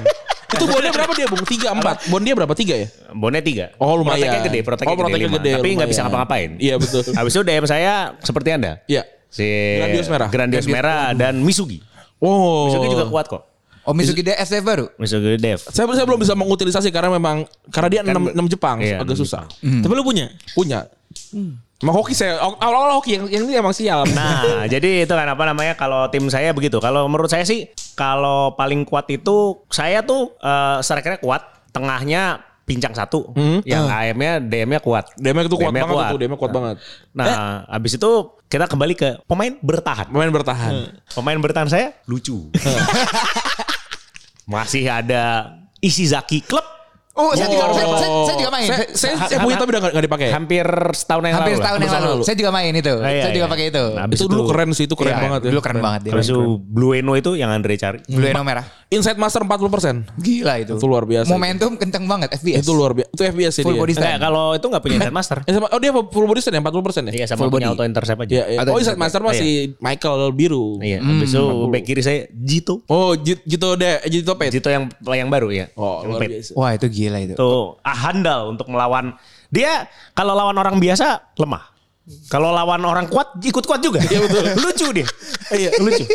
[SPEAKER 3] Itu bondnya berapa dia, Bung? Tiga, empat. Bond dia berapa? Tiga ya?
[SPEAKER 2] Bonnya tiga.
[SPEAKER 3] Oh, lumayan.
[SPEAKER 2] Proteknya gede, proteknya
[SPEAKER 3] Oh,
[SPEAKER 2] gede,
[SPEAKER 3] proteknya
[SPEAKER 2] lima.
[SPEAKER 3] gede,
[SPEAKER 2] Tapi nggak
[SPEAKER 3] lumayan.
[SPEAKER 2] bisa ngapa-ngapain.
[SPEAKER 3] Iya, betul.
[SPEAKER 2] Habis itu DM saya seperti anda.
[SPEAKER 3] Iya.
[SPEAKER 2] Si
[SPEAKER 3] Grandios Merah.
[SPEAKER 2] Grandios
[SPEAKER 3] Grandios-
[SPEAKER 2] Merah dan Misugi.
[SPEAKER 3] Oh.
[SPEAKER 2] Misugi juga kuat kok.
[SPEAKER 1] Oh Mitsuki dia SD baru?
[SPEAKER 2] Misugi Dev.
[SPEAKER 3] Saya, saya belum bisa mengutilisasi karena memang karena dia enam enam Jepang
[SPEAKER 2] Iya, enam
[SPEAKER 3] agak susah.
[SPEAKER 4] Tapi lu punya?
[SPEAKER 3] Punya. Hmm. Emang hoki saya awal-awal hoki yang, yang ini emang sial.
[SPEAKER 2] Nah, [laughs] jadi itu kan apa namanya kalau tim saya begitu. Kalau menurut saya sih kalau paling kuat itu saya tuh eh strikernya kuat, tengahnya pincang satu,
[SPEAKER 3] Hmm.
[SPEAKER 2] yang AM-nya DM-nya kuat.
[SPEAKER 3] DM Ah. itu kuat
[SPEAKER 2] DM-nya
[SPEAKER 3] banget itu, DM kuat banget. Eh.
[SPEAKER 2] Nah, habis itu kita kembali ke pemain bertahan.
[SPEAKER 3] Pemain bertahan.
[SPEAKER 2] Pemain bertahan saya lucu. [laughs] Masih ada Ishizaki Club
[SPEAKER 1] Oh saya juga, saya, saya, saya juga main.
[SPEAKER 3] Oh. Saya, saya, saya punya tapi udah gak, dipakai.
[SPEAKER 2] hampir setahun yang
[SPEAKER 1] Hampir
[SPEAKER 2] lalu. lah.
[SPEAKER 1] setahun yang
[SPEAKER 3] Tahun
[SPEAKER 1] lalu.
[SPEAKER 3] lalu.
[SPEAKER 1] Saya juga main itu.
[SPEAKER 2] Ah, iya,
[SPEAKER 1] saya juga
[SPEAKER 2] iya.
[SPEAKER 1] pakai itu.
[SPEAKER 2] Nah, habis
[SPEAKER 3] Itu dulu keren sih, itu keren
[SPEAKER 1] Iya,
[SPEAKER 3] banget. ya.
[SPEAKER 1] Dulu keren banget dia.
[SPEAKER 2] Habis itu Blue Eno itu yang Andre cari.
[SPEAKER 1] Blue Eno merah.
[SPEAKER 3] Inside Master 40%.
[SPEAKER 1] Gila itu.
[SPEAKER 3] Itu luar biasa.
[SPEAKER 1] Momentum kenceng banget FBS.
[SPEAKER 3] Itu luar biasa. Itu FBS sih
[SPEAKER 1] Full
[SPEAKER 3] dia.
[SPEAKER 1] body
[SPEAKER 2] Enggak,
[SPEAKER 1] stand.
[SPEAKER 2] kalau itu nggak punya Inside Master.
[SPEAKER 3] Eh, sama- oh dia full body stand ya 40% ya?
[SPEAKER 2] [laughs] Iya, sama
[SPEAKER 1] Full
[SPEAKER 2] punya
[SPEAKER 1] body.
[SPEAKER 2] auto intercept aja.
[SPEAKER 3] Iya, iya.
[SPEAKER 1] Atau
[SPEAKER 3] Oh Inside
[SPEAKER 1] Inside
[SPEAKER 3] Master masih Michael Biru.
[SPEAKER 2] Iya, habis itu back kiri saya Jito.
[SPEAKER 3] Oh Jit- Jito De, Jito Pet.
[SPEAKER 2] Jito yang yang baru ya.
[SPEAKER 3] Oh
[SPEAKER 2] yang
[SPEAKER 3] luar
[SPEAKER 2] pet.
[SPEAKER 3] biasa.
[SPEAKER 1] Wah itu gila itu.
[SPEAKER 2] Tuh, ah, handal untuk melawan. Dia kalau lawan orang biasa lemah. Kalau lawan orang kuat ikut kuat juga. Iya betul. [laughs] lucu dia.
[SPEAKER 3] Eh,
[SPEAKER 2] Iya, lucu.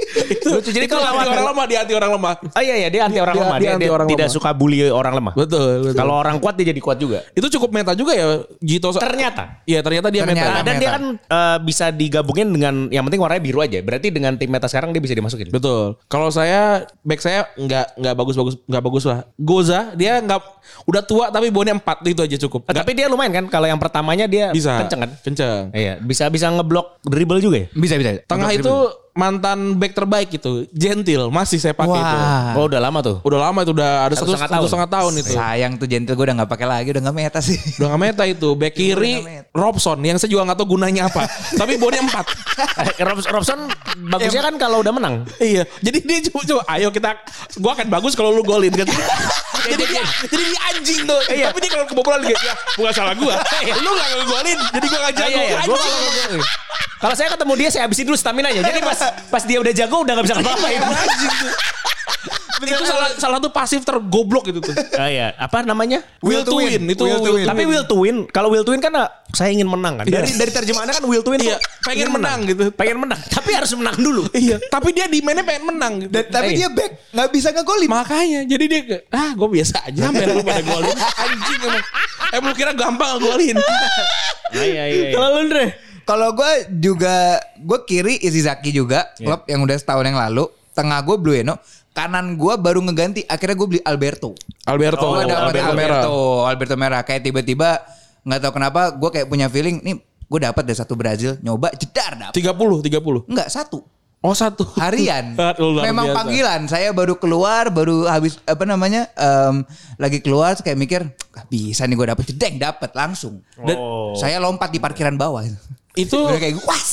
[SPEAKER 2] lucu. Jadi
[SPEAKER 3] Itu
[SPEAKER 2] kalau
[SPEAKER 3] lawan
[SPEAKER 2] lawan
[SPEAKER 3] orang lemah, di hati orang lemah.
[SPEAKER 2] Oh iya iya dia anti orang
[SPEAKER 3] Dia-
[SPEAKER 2] lemah.
[SPEAKER 3] dia
[SPEAKER 2] Dia,
[SPEAKER 3] anti
[SPEAKER 2] dia
[SPEAKER 3] orang
[SPEAKER 2] tidak
[SPEAKER 3] lemah.
[SPEAKER 2] suka bully orang lemah.
[SPEAKER 3] Betul. betul.
[SPEAKER 2] Kalau orang kuat dia jadi kuat juga.
[SPEAKER 3] itu cukup meta juga ya Jito.
[SPEAKER 2] Ternyata
[SPEAKER 3] Iya ternyata dia
[SPEAKER 1] Ternyata.
[SPEAKER 3] meta.
[SPEAKER 2] Nah, dan dia kan eh, bisa digabungin dengan yang penting warnanya biru aja. Berarti dengan tim meta sekarang dia bisa dimasukin.
[SPEAKER 3] Betul. Kalau saya back saya nggak nggak bagus-bagus nggak bagus lah. Goza dia nggak udah tua tapi bonnya empat itu aja cukup.
[SPEAKER 2] Eh,
[SPEAKER 3] Nggak
[SPEAKER 2] Tapi dia lumayan kan kalau yang pertamanya dia
[SPEAKER 3] bisa
[SPEAKER 2] kenceng kan?
[SPEAKER 3] Kenceng.
[SPEAKER 2] Iya, bisa bisa ngeblok dribble juga ya?
[SPEAKER 1] Bisa bisa.
[SPEAKER 3] Tengah
[SPEAKER 1] Untuk
[SPEAKER 3] itu
[SPEAKER 1] dribble.
[SPEAKER 3] mantan back terbaik itu Gentil masih saya pakai itu.
[SPEAKER 1] Wah.
[SPEAKER 2] Oh, udah lama
[SPEAKER 3] [laughs]
[SPEAKER 2] tuh.
[SPEAKER 3] Udah lama itu udah ada
[SPEAKER 2] Satu
[SPEAKER 3] satu,
[SPEAKER 2] setengah
[SPEAKER 3] satu
[SPEAKER 2] tahun.
[SPEAKER 3] setengah tahun itu.
[SPEAKER 1] Sayang tuh gentle gue udah gak pakai lagi udah gak meta sih.
[SPEAKER 3] Udah nggak meta itu. Back kiri
[SPEAKER 1] Udah nggak
[SPEAKER 3] Robson yang saya juga nggak tahu gunanya
[SPEAKER 2] [laughs]
[SPEAKER 3] apa. tapi bonnya empat.
[SPEAKER 2] Eh, Robs- Robson bagusnya kan kalau udah menang.
[SPEAKER 3] Iya, jadi dia cuma cuma ayo kita gua akan bagus kalau lu golin
[SPEAKER 4] [laughs]
[SPEAKER 3] kan. jadi dia jadi dia anjing tuh.
[SPEAKER 4] Iya.
[SPEAKER 3] Tapi dia kalau kebobolan dia ya, bukan salah
[SPEAKER 2] [laughs]
[SPEAKER 3] gua. lu gak ngegolin, jadi gua gak
[SPEAKER 2] Ah,
[SPEAKER 3] jago.
[SPEAKER 2] iya, iya. Gua
[SPEAKER 3] Anjing.
[SPEAKER 2] kalau- Kalau saya ketemu dia saya habisin dulu stamina-nya. Jadi pas pas dia udah jago udah gak bisa ngapa-ngapain.
[SPEAKER 3] Iya, itu salah salah satu pasif tergoblok gitu [laughs] tuh.
[SPEAKER 2] Ah, iya. Apa namanya?
[SPEAKER 3] Will to win, itu
[SPEAKER 1] Will to win.
[SPEAKER 2] Tapi will to win, kalau will to win kan ah, saya ingin menang kan. Dari dari terjemahannya kan will to win
[SPEAKER 3] Iya,
[SPEAKER 2] tuh
[SPEAKER 3] pengen
[SPEAKER 2] ingin
[SPEAKER 3] menang gitu.
[SPEAKER 2] Pengen menang, tapi harus menang dulu.
[SPEAKER 3] Iya, tapi dia di mainnya pengen
[SPEAKER 2] [laughs]
[SPEAKER 3] menang gitu.
[SPEAKER 1] Dan- tapi dia back gak bisa ngegolin.
[SPEAKER 3] Makanya jadi dia ke- ah gue biasa aja sampai lu pada golin anjing emang. Emang lu Eh, kira gampang ngegolin.
[SPEAKER 2] Iya, iya, iya.
[SPEAKER 3] Kalau lu Dre,
[SPEAKER 1] Kalau gue juga gue kiri Izizaki juga
[SPEAKER 3] Iya.
[SPEAKER 1] klub yang udah setahun yang lalu. Tengah gue Blue Eno. Kanan gue baru ngeganti. Akhirnya gue beli Alberto.
[SPEAKER 3] [laughs] Alberto,
[SPEAKER 1] Gue dapet
[SPEAKER 3] Oh, Alberto,
[SPEAKER 1] Alberto,
[SPEAKER 3] Merah.
[SPEAKER 1] Alberto, Merah. Kayak tiba-tiba nggak tahu kenapa gue kayak punya feeling nih gue dapat deh satu Brazil nyoba jedar dapet.
[SPEAKER 3] 30, 30.
[SPEAKER 1] Enggak satu
[SPEAKER 3] Oh satu. [laughs]
[SPEAKER 1] harian.
[SPEAKER 3] Luar
[SPEAKER 1] Memang
[SPEAKER 3] biasa.
[SPEAKER 1] panggilan. Saya baru keluar, baru habis apa namanya em, lagi keluar kayak mikir "Nggak bisa nih gue dapet jedeng dapet langsung. Dan
[SPEAKER 2] Oh.
[SPEAKER 1] saya lompat di parkiran bawah.
[SPEAKER 3] Itu
[SPEAKER 1] Udah kayak
[SPEAKER 3] [laughs]
[SPEAKER 1] was.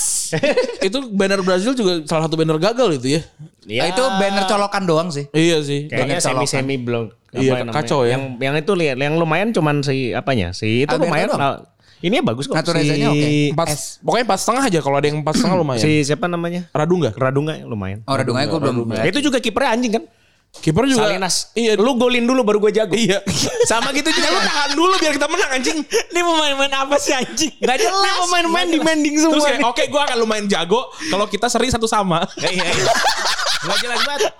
[SPEAKER 3] itu banner Brazil juga salah satu banner gagal itu ya.
[SPEAKER 2] Ya.
[SPEAKER 1] Itu banner colokan doang sih.
[SPEAKER 3] Iya sih.
[SPEAKER 2] Kayaknya
[SPEAKER 1] Banget colokan.
[SPEAKER 2] semi-semi belum. apa
[SPEAKER 3] Iya,
[SPEAKER 2] namanya.
[SPEAKER 3] kacau ya.
[SPEAKER 2] Yang yang itu lihat, yang lumayan cuman si apanya? Si itu
[SPEAKER 1] Alberto
[SPEAKER 2] lumayan.
[SPEAKER 1] doang.
[SPEAKER 2] Al- ini ya bagus kok.
[SPEAKER 1] Naturezanya
[SPEAKER 2] si,
[SPEAKER 1] oke.
[SPEAKER 3] Empat,
[SPEAKER 1] S.
[SPEAKER 3] pokoknya empat setengah aja kalau ada yang empat
[SPEAKER 2] [clears throat]
[SPEAKER 3] setengah lumayan.
[SPEAKER 2] si siapa namanya?
[SPEAKER 3] Radunga.
[SPEAKER 2] Radunga ya, lumayan.
[SPEAKER 1] Oh Radungai gue belum
[SPEAKER 2] Itu juga kipernya anjing kan?
[SPEAKER 3] Kiper juga.
[SPEAKER 2] Salinas.
[SPEAKER 3] Iya.
[SPEAKER 2] Lu golin dulu baru gue jago.
[SPEAKER 3] Iya.
[SPEAKER 2] Sama gitu juga.
[SPEAKER 3] Lu tahan dulu biar kita menang anjing.
[SPEAKER 5] Ini pemain-pemain apa sih anjing?
[SPEAKER 2] Gak jelas.
[SPEAKER 5] Ini pemain-pemain
[SPEAKER 2] Gak jelas.
[SPEAKER 5] demanding semua.
[SPEAKER 3] Terus kayak oke gue akan lumayan jago kalau kita seri satu sama.
[SPEAKER 2] Iya, iya, iya. Gak jelas banget.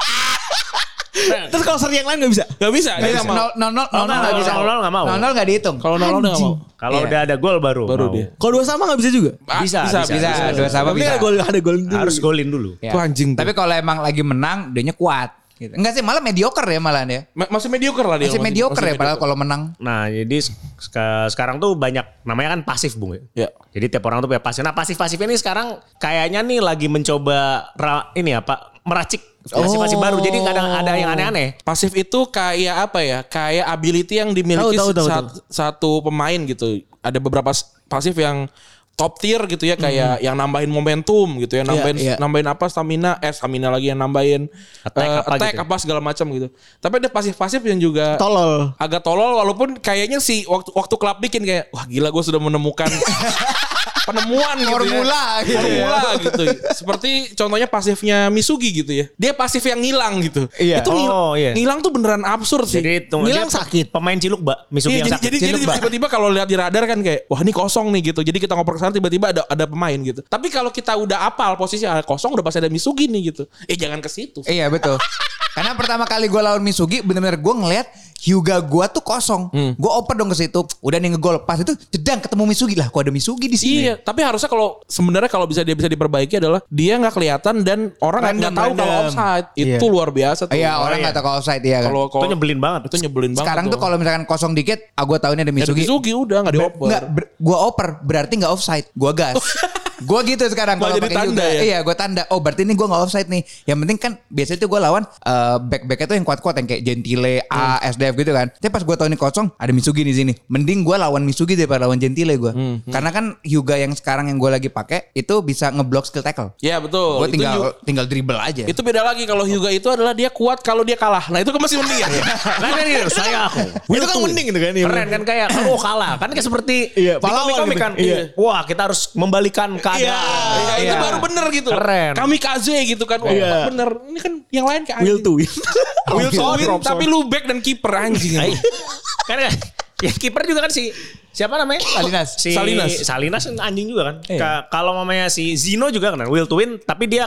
[SPEAKER 5] Terus kalau seri yang lain gak bisa.
[SPEAKER 3] Gak [laughs] bisa. dia Nah. nggak mau.
[SPEAKER 1] Nol nol nol nol
[SPEAKER 2] nggak
[SPEAKER 1] nggak bisa.
[SPEAKER 2] mau, nol nggak mau.
[SPEAKER 1] Nol nol nggak dihitung. Iya.
[SPEAKER 3] Kalau nol nol dia nggak mau.
[SPEAKER 2] Kalau udah ada gol baru.
[SPEAKER 3] Baru
[SPEAKER 2] mau.
[SPEAKER 3] dia.
[SPEAKER 5] Kalau dua sama gak bisa juga.
[SPEAKER 3] Ah,
[SPEAKER 2] Bisa, bisa,
[SPEAKER 1] Bisa Iya, dua sama
[SPEAKER 5] Tapi
[SPEAKER 1] bisa.
[SPEAKER 5] ada gol ada gol dulu.
[SPEAKER 2] Harus golin dulu.
[SPEAKER 1] Ya.
[SPEAKER 3] Itu anjing tuh.
[SPEAKER 1] Tapi kalau emang lagi menang, dianya kuat. Gitu. Enggak sih, malah mediocre ya malahan ya.
[SPEAKER 3] Ma- masih mediocre lah dia.
[SPEAKER 1] Masih mediocre ya padahal kalau menang.
[SPEAKER 2] Nah, jadi sek- sekarang tuh banyak namanya kan pasif, Bung.
[SPEAKER 3] Ya.
[SPEAKER 2] Jadi tiap orang tuh punya pasif. Nah, pasif-pasif ini sekarang kayaknya nih lagi mencoba ra- ini apa? meracik pasif-pasif baru. Jadi kadang ada yang aneh-aneh.
[SPEAKER 3] Pasif itu kayak apa ya? Kayak ability yang dimiliki
[SPEAKER 5] Tahu, tahu, tahu,
[SPEAKER 3] sat- satu pemain gitu. Ada beberapa s- pasif yang top tier gitu ya kayak yang nambahin momentum gitu ya nambahin
[SPEAKER 5] Mm-hmm. iya.
[SPEAKER 3] nambahin apa stamina eh stamina lagi yang nambahin
[SPEAKER 2] Attack
[SPEAKER 3] eh,
[SPEAKER 2] apa
[SPEAKER 3] attack
[SPEAKER 5] ya.
[SPEAKER 2] gitu.
[SPEAKER 3] apa segala macam gitu tapi ada pasif-pasif yang juga
[SPEAKER 5] Tolol. [laughs]
[SPEAKER 3] agak tolol walaupun kayaknya si waktu waktu klub bikin kayak wah gila gue sudah menemukan penemuan gitu
[SPEAKER 1] Formula
[SPEAKER 3] ya.
[SPEAKER 1] gitu ya.
[SPEAKER 3] Formula gitu. Seperti contohnya pasifnya Misugi gitu ya. Dia pasif yang ngilang gitu.
[SPEAKER 1] Iya.
[SPEAKER 3] Itu ngil-
[SPEAKER 2] Oh, iya.
[SPEAKER 3] ngilang tuh beneran absurd sih.
[SPEAKER 2] Jadi tunggu
[SPEAKER 4] Ngilang
[SPEAKER 2] dia
[SPEAKER 4] sakit.
[SPEAKER 2] Pemain ciluk, Mbak. Misugi
[SPEAKER 3] Iya,
[SPEAKER 2] yang
[SPEAKER 3] jadi,
[SPEAKER 2] sakit.
[SPEAKER 3] jadi, jadi
[SPEAKER 2] Ciluk, Mbak.
[SPEAKER 3] tiba-tiba kalau lihat di radar kan kayak wah ini kosong nih gitu. Jadi kita ngoper ke sana tiba-tiba ada ada pemain gitu. Tapi kalau kita udah apal posisi ah, kosong udah pasti ada Misugi nih gitu. Eh jangan ke situ.
[SPEAKER 1] Iya betul. Karena pertama kali gue lawan Misugi bener-bener gue ngeliat Hyuga gue tuh kosong. Gue oper dong ke situ. Udah nih ngegol. Pas itu jedang ketemu Misugi lah. Kok ada Misugi di sini?
[SPEAKER 3] Iya, tapi harusnya kalau sebenarnya kalau bisa dia bisa diperbaiki adalah dia nggak kelihatan dan orang nggak
[SPEAKER 1] Random,
[SPEAKER 3] tahu kalau
[SPEAKER 1] random.
[SPEAKER 3] offside. Itu luar biasa tuh.
[SPEAKER 1] Iya orang
[SPEAKER 2] iya.
[SPEAKER 1] nggak tahu kalau offside ya kan.
[SPEAKER 3] Kalau
[SPEAKER 2] Itu
[SPEAKER 3] kalau
[SPEAKER 2] nyebelin banget.
[SPEAKER 3] itu nyebelin banget.
[SPEAKER 1] Sekarang tuh kalau misalkan kosong dikit, ah gue tahu ini ada
[SPEAKER 3] Ya, ada
[SPEAKER 1] Misugi.
[SPEAKER 3] Misugi udah nggak dioper.
[SPEAKER 1] Nggak, ber- gua oper berarti nggak offside. Gua gas. [laughs] gua gitu sekarang kalau
[SPEAKER 3] Malah jadi
[SPEAKER 1] pakai
[SPEAKER 3] tanda
[SPEAKER 1] juga.
[SPEAKER 3] ya?
[SPEAKER 1] Iya, gua tanda. Oh, berarti ini gua nggak offside nih. Yang penting kan biasanya tuh gua lawan eh, back-backnya tuh yang kuat-kuat yang kayak Gentile,
[SPEAKER 3] Hmm.
[SPEAKER 1] A, SDF gitu kan. Tapi pas gua tahu ini kosong, ada Misugi di sini. Mending gua lawan Misugi daripada lawan Gentile gua.
[SPEAKER 3] Hmm,
[SPEAKER 1] Karena kan Hyuga yang sekarang yang gua lagi pakai itu bisa ngeblok skill tackle.
[SPEAKER 3] Ya betul.
[SPEAKER 1] Gua
[SPEAKER 3] Itu
[SPEAKER 1] tinggal
[SPEAKER 3] Yu-
[SPEAKER 1] tinggal dribble aja.
[SPEAKER 3] itu beda lagi kalau Hyuga itu adalah dia kuat kalau dia kalah. Nah itu kan masih mending ya. [laughs]
[SPEAKER 2] Nah, kan gitu, saya aku.
[SPEAKER 4] itu kan mending gitu kan. ya.
[SPEAKER 2] Keren kan kayak
[SPEAKER 3] Iya.
[SPEAKER 2] oh kalah kan kayak seperti
[SPEAKER 4] Iya,
[SPEAKER 2] di
[SPEAKER 4] pahlawan
[SPEAKER 2] komik-komik
[SPEAKER 4] gitu.
[SPEAKER 2] kan.
[SPEAKER 4] Iya.
[SPEAKER 2] Wah, kita harus membalikan
[SPEAKER 3] Iya,
[SPEAKER 2] keadaan.
[SPEAKER 3] iya, itu
[SPEAKER 2] Iya.
[SPEAKER 3] baru bener gitu.
[SPEAKER 2] Keren.
[SPEAKER 3] Kami kaze gitu kan. Wah,
[SPEAKER 4] Iya.
[SPEAKER 3] bener. Ini kan yang lain kayak
[SPEAKER 4] Will to win.
[SPEAKER 3] [laughs] Will to
[SPEAKER 4] Robson,
[SPEAKER 3] win,
[SPEAKER 4] Robson.
[SPEAKER 3] tapi lu back dan kiper anjing.
[SPEAKER 2] Ay, kan kan, ya kiper juga kan si siapa namanya?
[SPEAKER 1] Salinas.
[SPEAKER 2] Si
[SPEAKER 3] Salinas. Iya.
[SPEAKER 2] Salinas. Salinas anjing juga kan. Ka- Kalau mamanya si Zino juga kan will to win tapi dia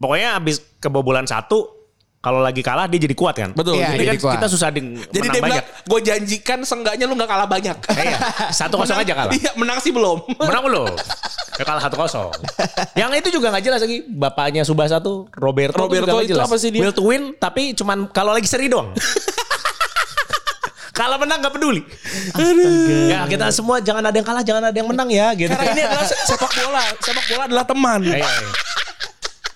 [SPEAKER 2] pokoknya abis kebobolan satu kalau lagi kalah dia jadi kuat kan.
[SPEAKER 3] Betul.
[SPEAKER 1] Iya,
[SPEAKER 2] Jadi
[SPEAKER 1] jadi
[SPEAKER 2] kan
[SPEAKER 1] kuat.
[SPEAKER 2] kita susah di menang
[SPEAKER 3] Jadi dia bilang,
[SPEAKER 2] banyak.
[SPEAKER 3] gue janjikan seenggaknya lu gak kalah banyak.
[SPEAKER 2] Iya, satu kosong
[SPEAKER 3] Menang-
[SPEAKER 2] aja kalah.
[SPEAKER 3] Iya, menang sih belum.
[SPEAKER 2] Menang lo. Ya kalah satu kosong. Yang itu juga nggak jelas lagi. Bapaknya Subasa tuh Roberto. tuh
[SPEAKER 3] Roberto
[SPEAKER 2] juga nggak
[SPEAKER 3] itu apa sih dia?
[SPEAKER 2] Will to win tapi cuman kalau lagi seri doang. Kalau menang nggak peduli. Ya kita semua jangan ada yang kalah, jangan ada yang menang ya gitu.
[SPEAKER 3] Karena ini adalah se- sepak bola. Sepak bola adalah teman.
[SPEAKER 2] Iya, iya.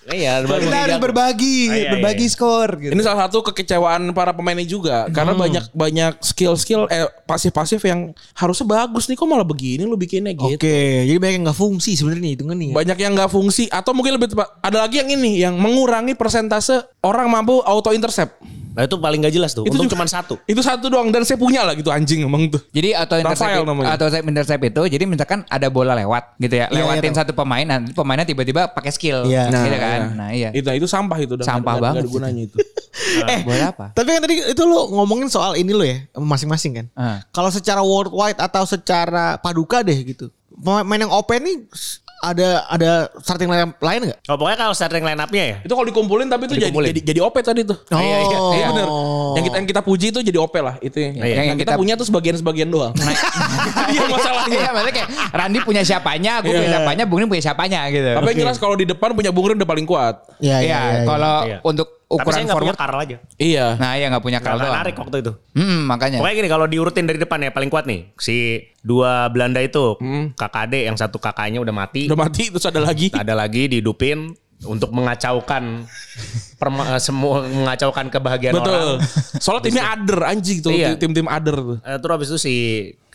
[SPEAKER 2] Iya, baru
[SPEAKER 1] Kita harus
[SPEAKER 2] dijago.
[SPEAKER 1] berbagi,
[SPEAKER 2] Ah, iya,
[SPEAKER 1] berbagi
[SPEAKER 2] iya.
[SPEAKER 1] skor gitu. Hmm.
[SPEAKER 3] Ini salah satu kekecewaan para pemainnya juga karena banyak banyak skill-skill eh pasif-pasif yang harusnya bagus nih kok malah begini lu bikinnya
[SPEAKER 1] Oh.
[SPEAKER 3] gitu.
[SPEAKER 4] Oke, jadi banyak yang gak fungsi sebenarnya itu kan nih.
[SPEAKER 3] Banyak yang nggak fungsi atau mungkin lebih tepat ada lagi yang ini yang mengurangi persentase orang mampu auto intercept.
[SPEAKER 2] Nah itu paling gak jelas tuh.
[SPEAKER 3] Itu
[SPEAKER 2] Untung cuma
[SPEAKER 3] juga-
[SPEAKER 2] satu.
[SPEAKER 3] [laughs] Itu satu doang dan saya punya lah gitu anjing emang tuh.
[SPEAKER 1] Jadi auto intercept
[SPEAKER 3] Rafael namanya.
[SPEAKER 1] atau saya intercept itu jadi misalkan ada bola lewat gitu ya,
[SPEAKER 4] Iya,
[SPEAKER 1] lewatin
[SPEAKER 4] iya, tahu.
[SPEAKER 1] satu pemain nanti pemainnya tiba-tiba pakai skill
[SPEAKER 4] Iya.
[SPEAKER 1] gitu kan. Nah, iya.
[SPEAKER 3] Itu itu sampah itu udah
[SPEAKER 1] Sampah banget
[SPEAKER 3] nggak- nggak- nggak ada gunanya itu. [laughs]
[SPEAKER 4] eh,
[SPEAKER 1] Bola apa?
[SPEAKER 4] Tapi kan tadi itu lo ngomongin soal ini lo ya, masing-masing kan.
[SPEAKER 1] Ah.
[SPEAKER 4] Kalau secara worldwide atau secara paduka deh gitu. Main yang open nih s- ada ada starting line lain nggak?
[SPEAKER 2] Oh, pokoknya kalau starting line up-nya ya.
[SPEAKER 3] itu kalau dikumpulin tapi itu jadi
[SPEAKER 2] Dikumpulin.
[SPEAKER 3] jadi jadi OP tadi tuh.
[SPEAKER 4] Oh.
[SPEAKER 3] Iya, iya, iya, bener. Yang kita yang kita puji itu jadi OP lah itu. Yang,
[SPEAKER 1] Iya.
[SPEAKER 3] yang
[SPEAKER 1] Yang
[SPEAKER 3] kita,
[SPEAKER 1] kita- Nah,
[SPEAKER 3] punya tuh sebagian-sebagian doang. Iya masalahnya.
[SPEAKER 1] [laughs] Iya, maksudnya kayak Randi punya siapanya, aku punya siapanya, Bung Rin punya siapanya gitu.
[SPEAKER 3] Tapi yang jelas kalau di depan punya Bung Rin udah paling kuat.
[SPEAKER 4] Iya,
[SPEAKER 1] Iya,
[SPEAKER 4] iya, iya.
[SPEAKER 1] kalau
[SPEAKER 2] iya.
[SPEAKER 1] untuk
[SPEAKER 2] Tapi
[SPEAKER 1] ukuran
[SPEAKER 2] saya nggak punya
[SPEAKER 1] forward
[SPEAKER 2] Karl aja.
[SPEAKER 3] Iya.
[SPEAKER 1] nah ya nggak punya
[SPEAKER 2] Karl
[SPEAKER 1] kalau doang.
[SPEAKER 2] menarik waktu itu.
[SPEAKER 1] Hmm, makanya.
[SPEAKER 2] Pokoknya gini kalau diurutin dari depan ya paling kuat nih. Si dua Belanda itu KKD yang satu kakaknya udah mati.
[SPEAKER 3] Udah mati terus ada lagi.
[SPEAKER 2] Ada lagi didupin untuk mengacaukan [laughs] perma- eh, semua mengacaukan kebahagiaan orang.
[SPEAKER 3] Betul.
[SPEAKER 2] [laughs]
[SPEAKER 3] Soalnya timnya other anjing tuh
[SPEAKER 2] Iya.
[SPEAKER 3] tim-tim other tuh.
[SPEAKER 2] Eh, terus habis itu si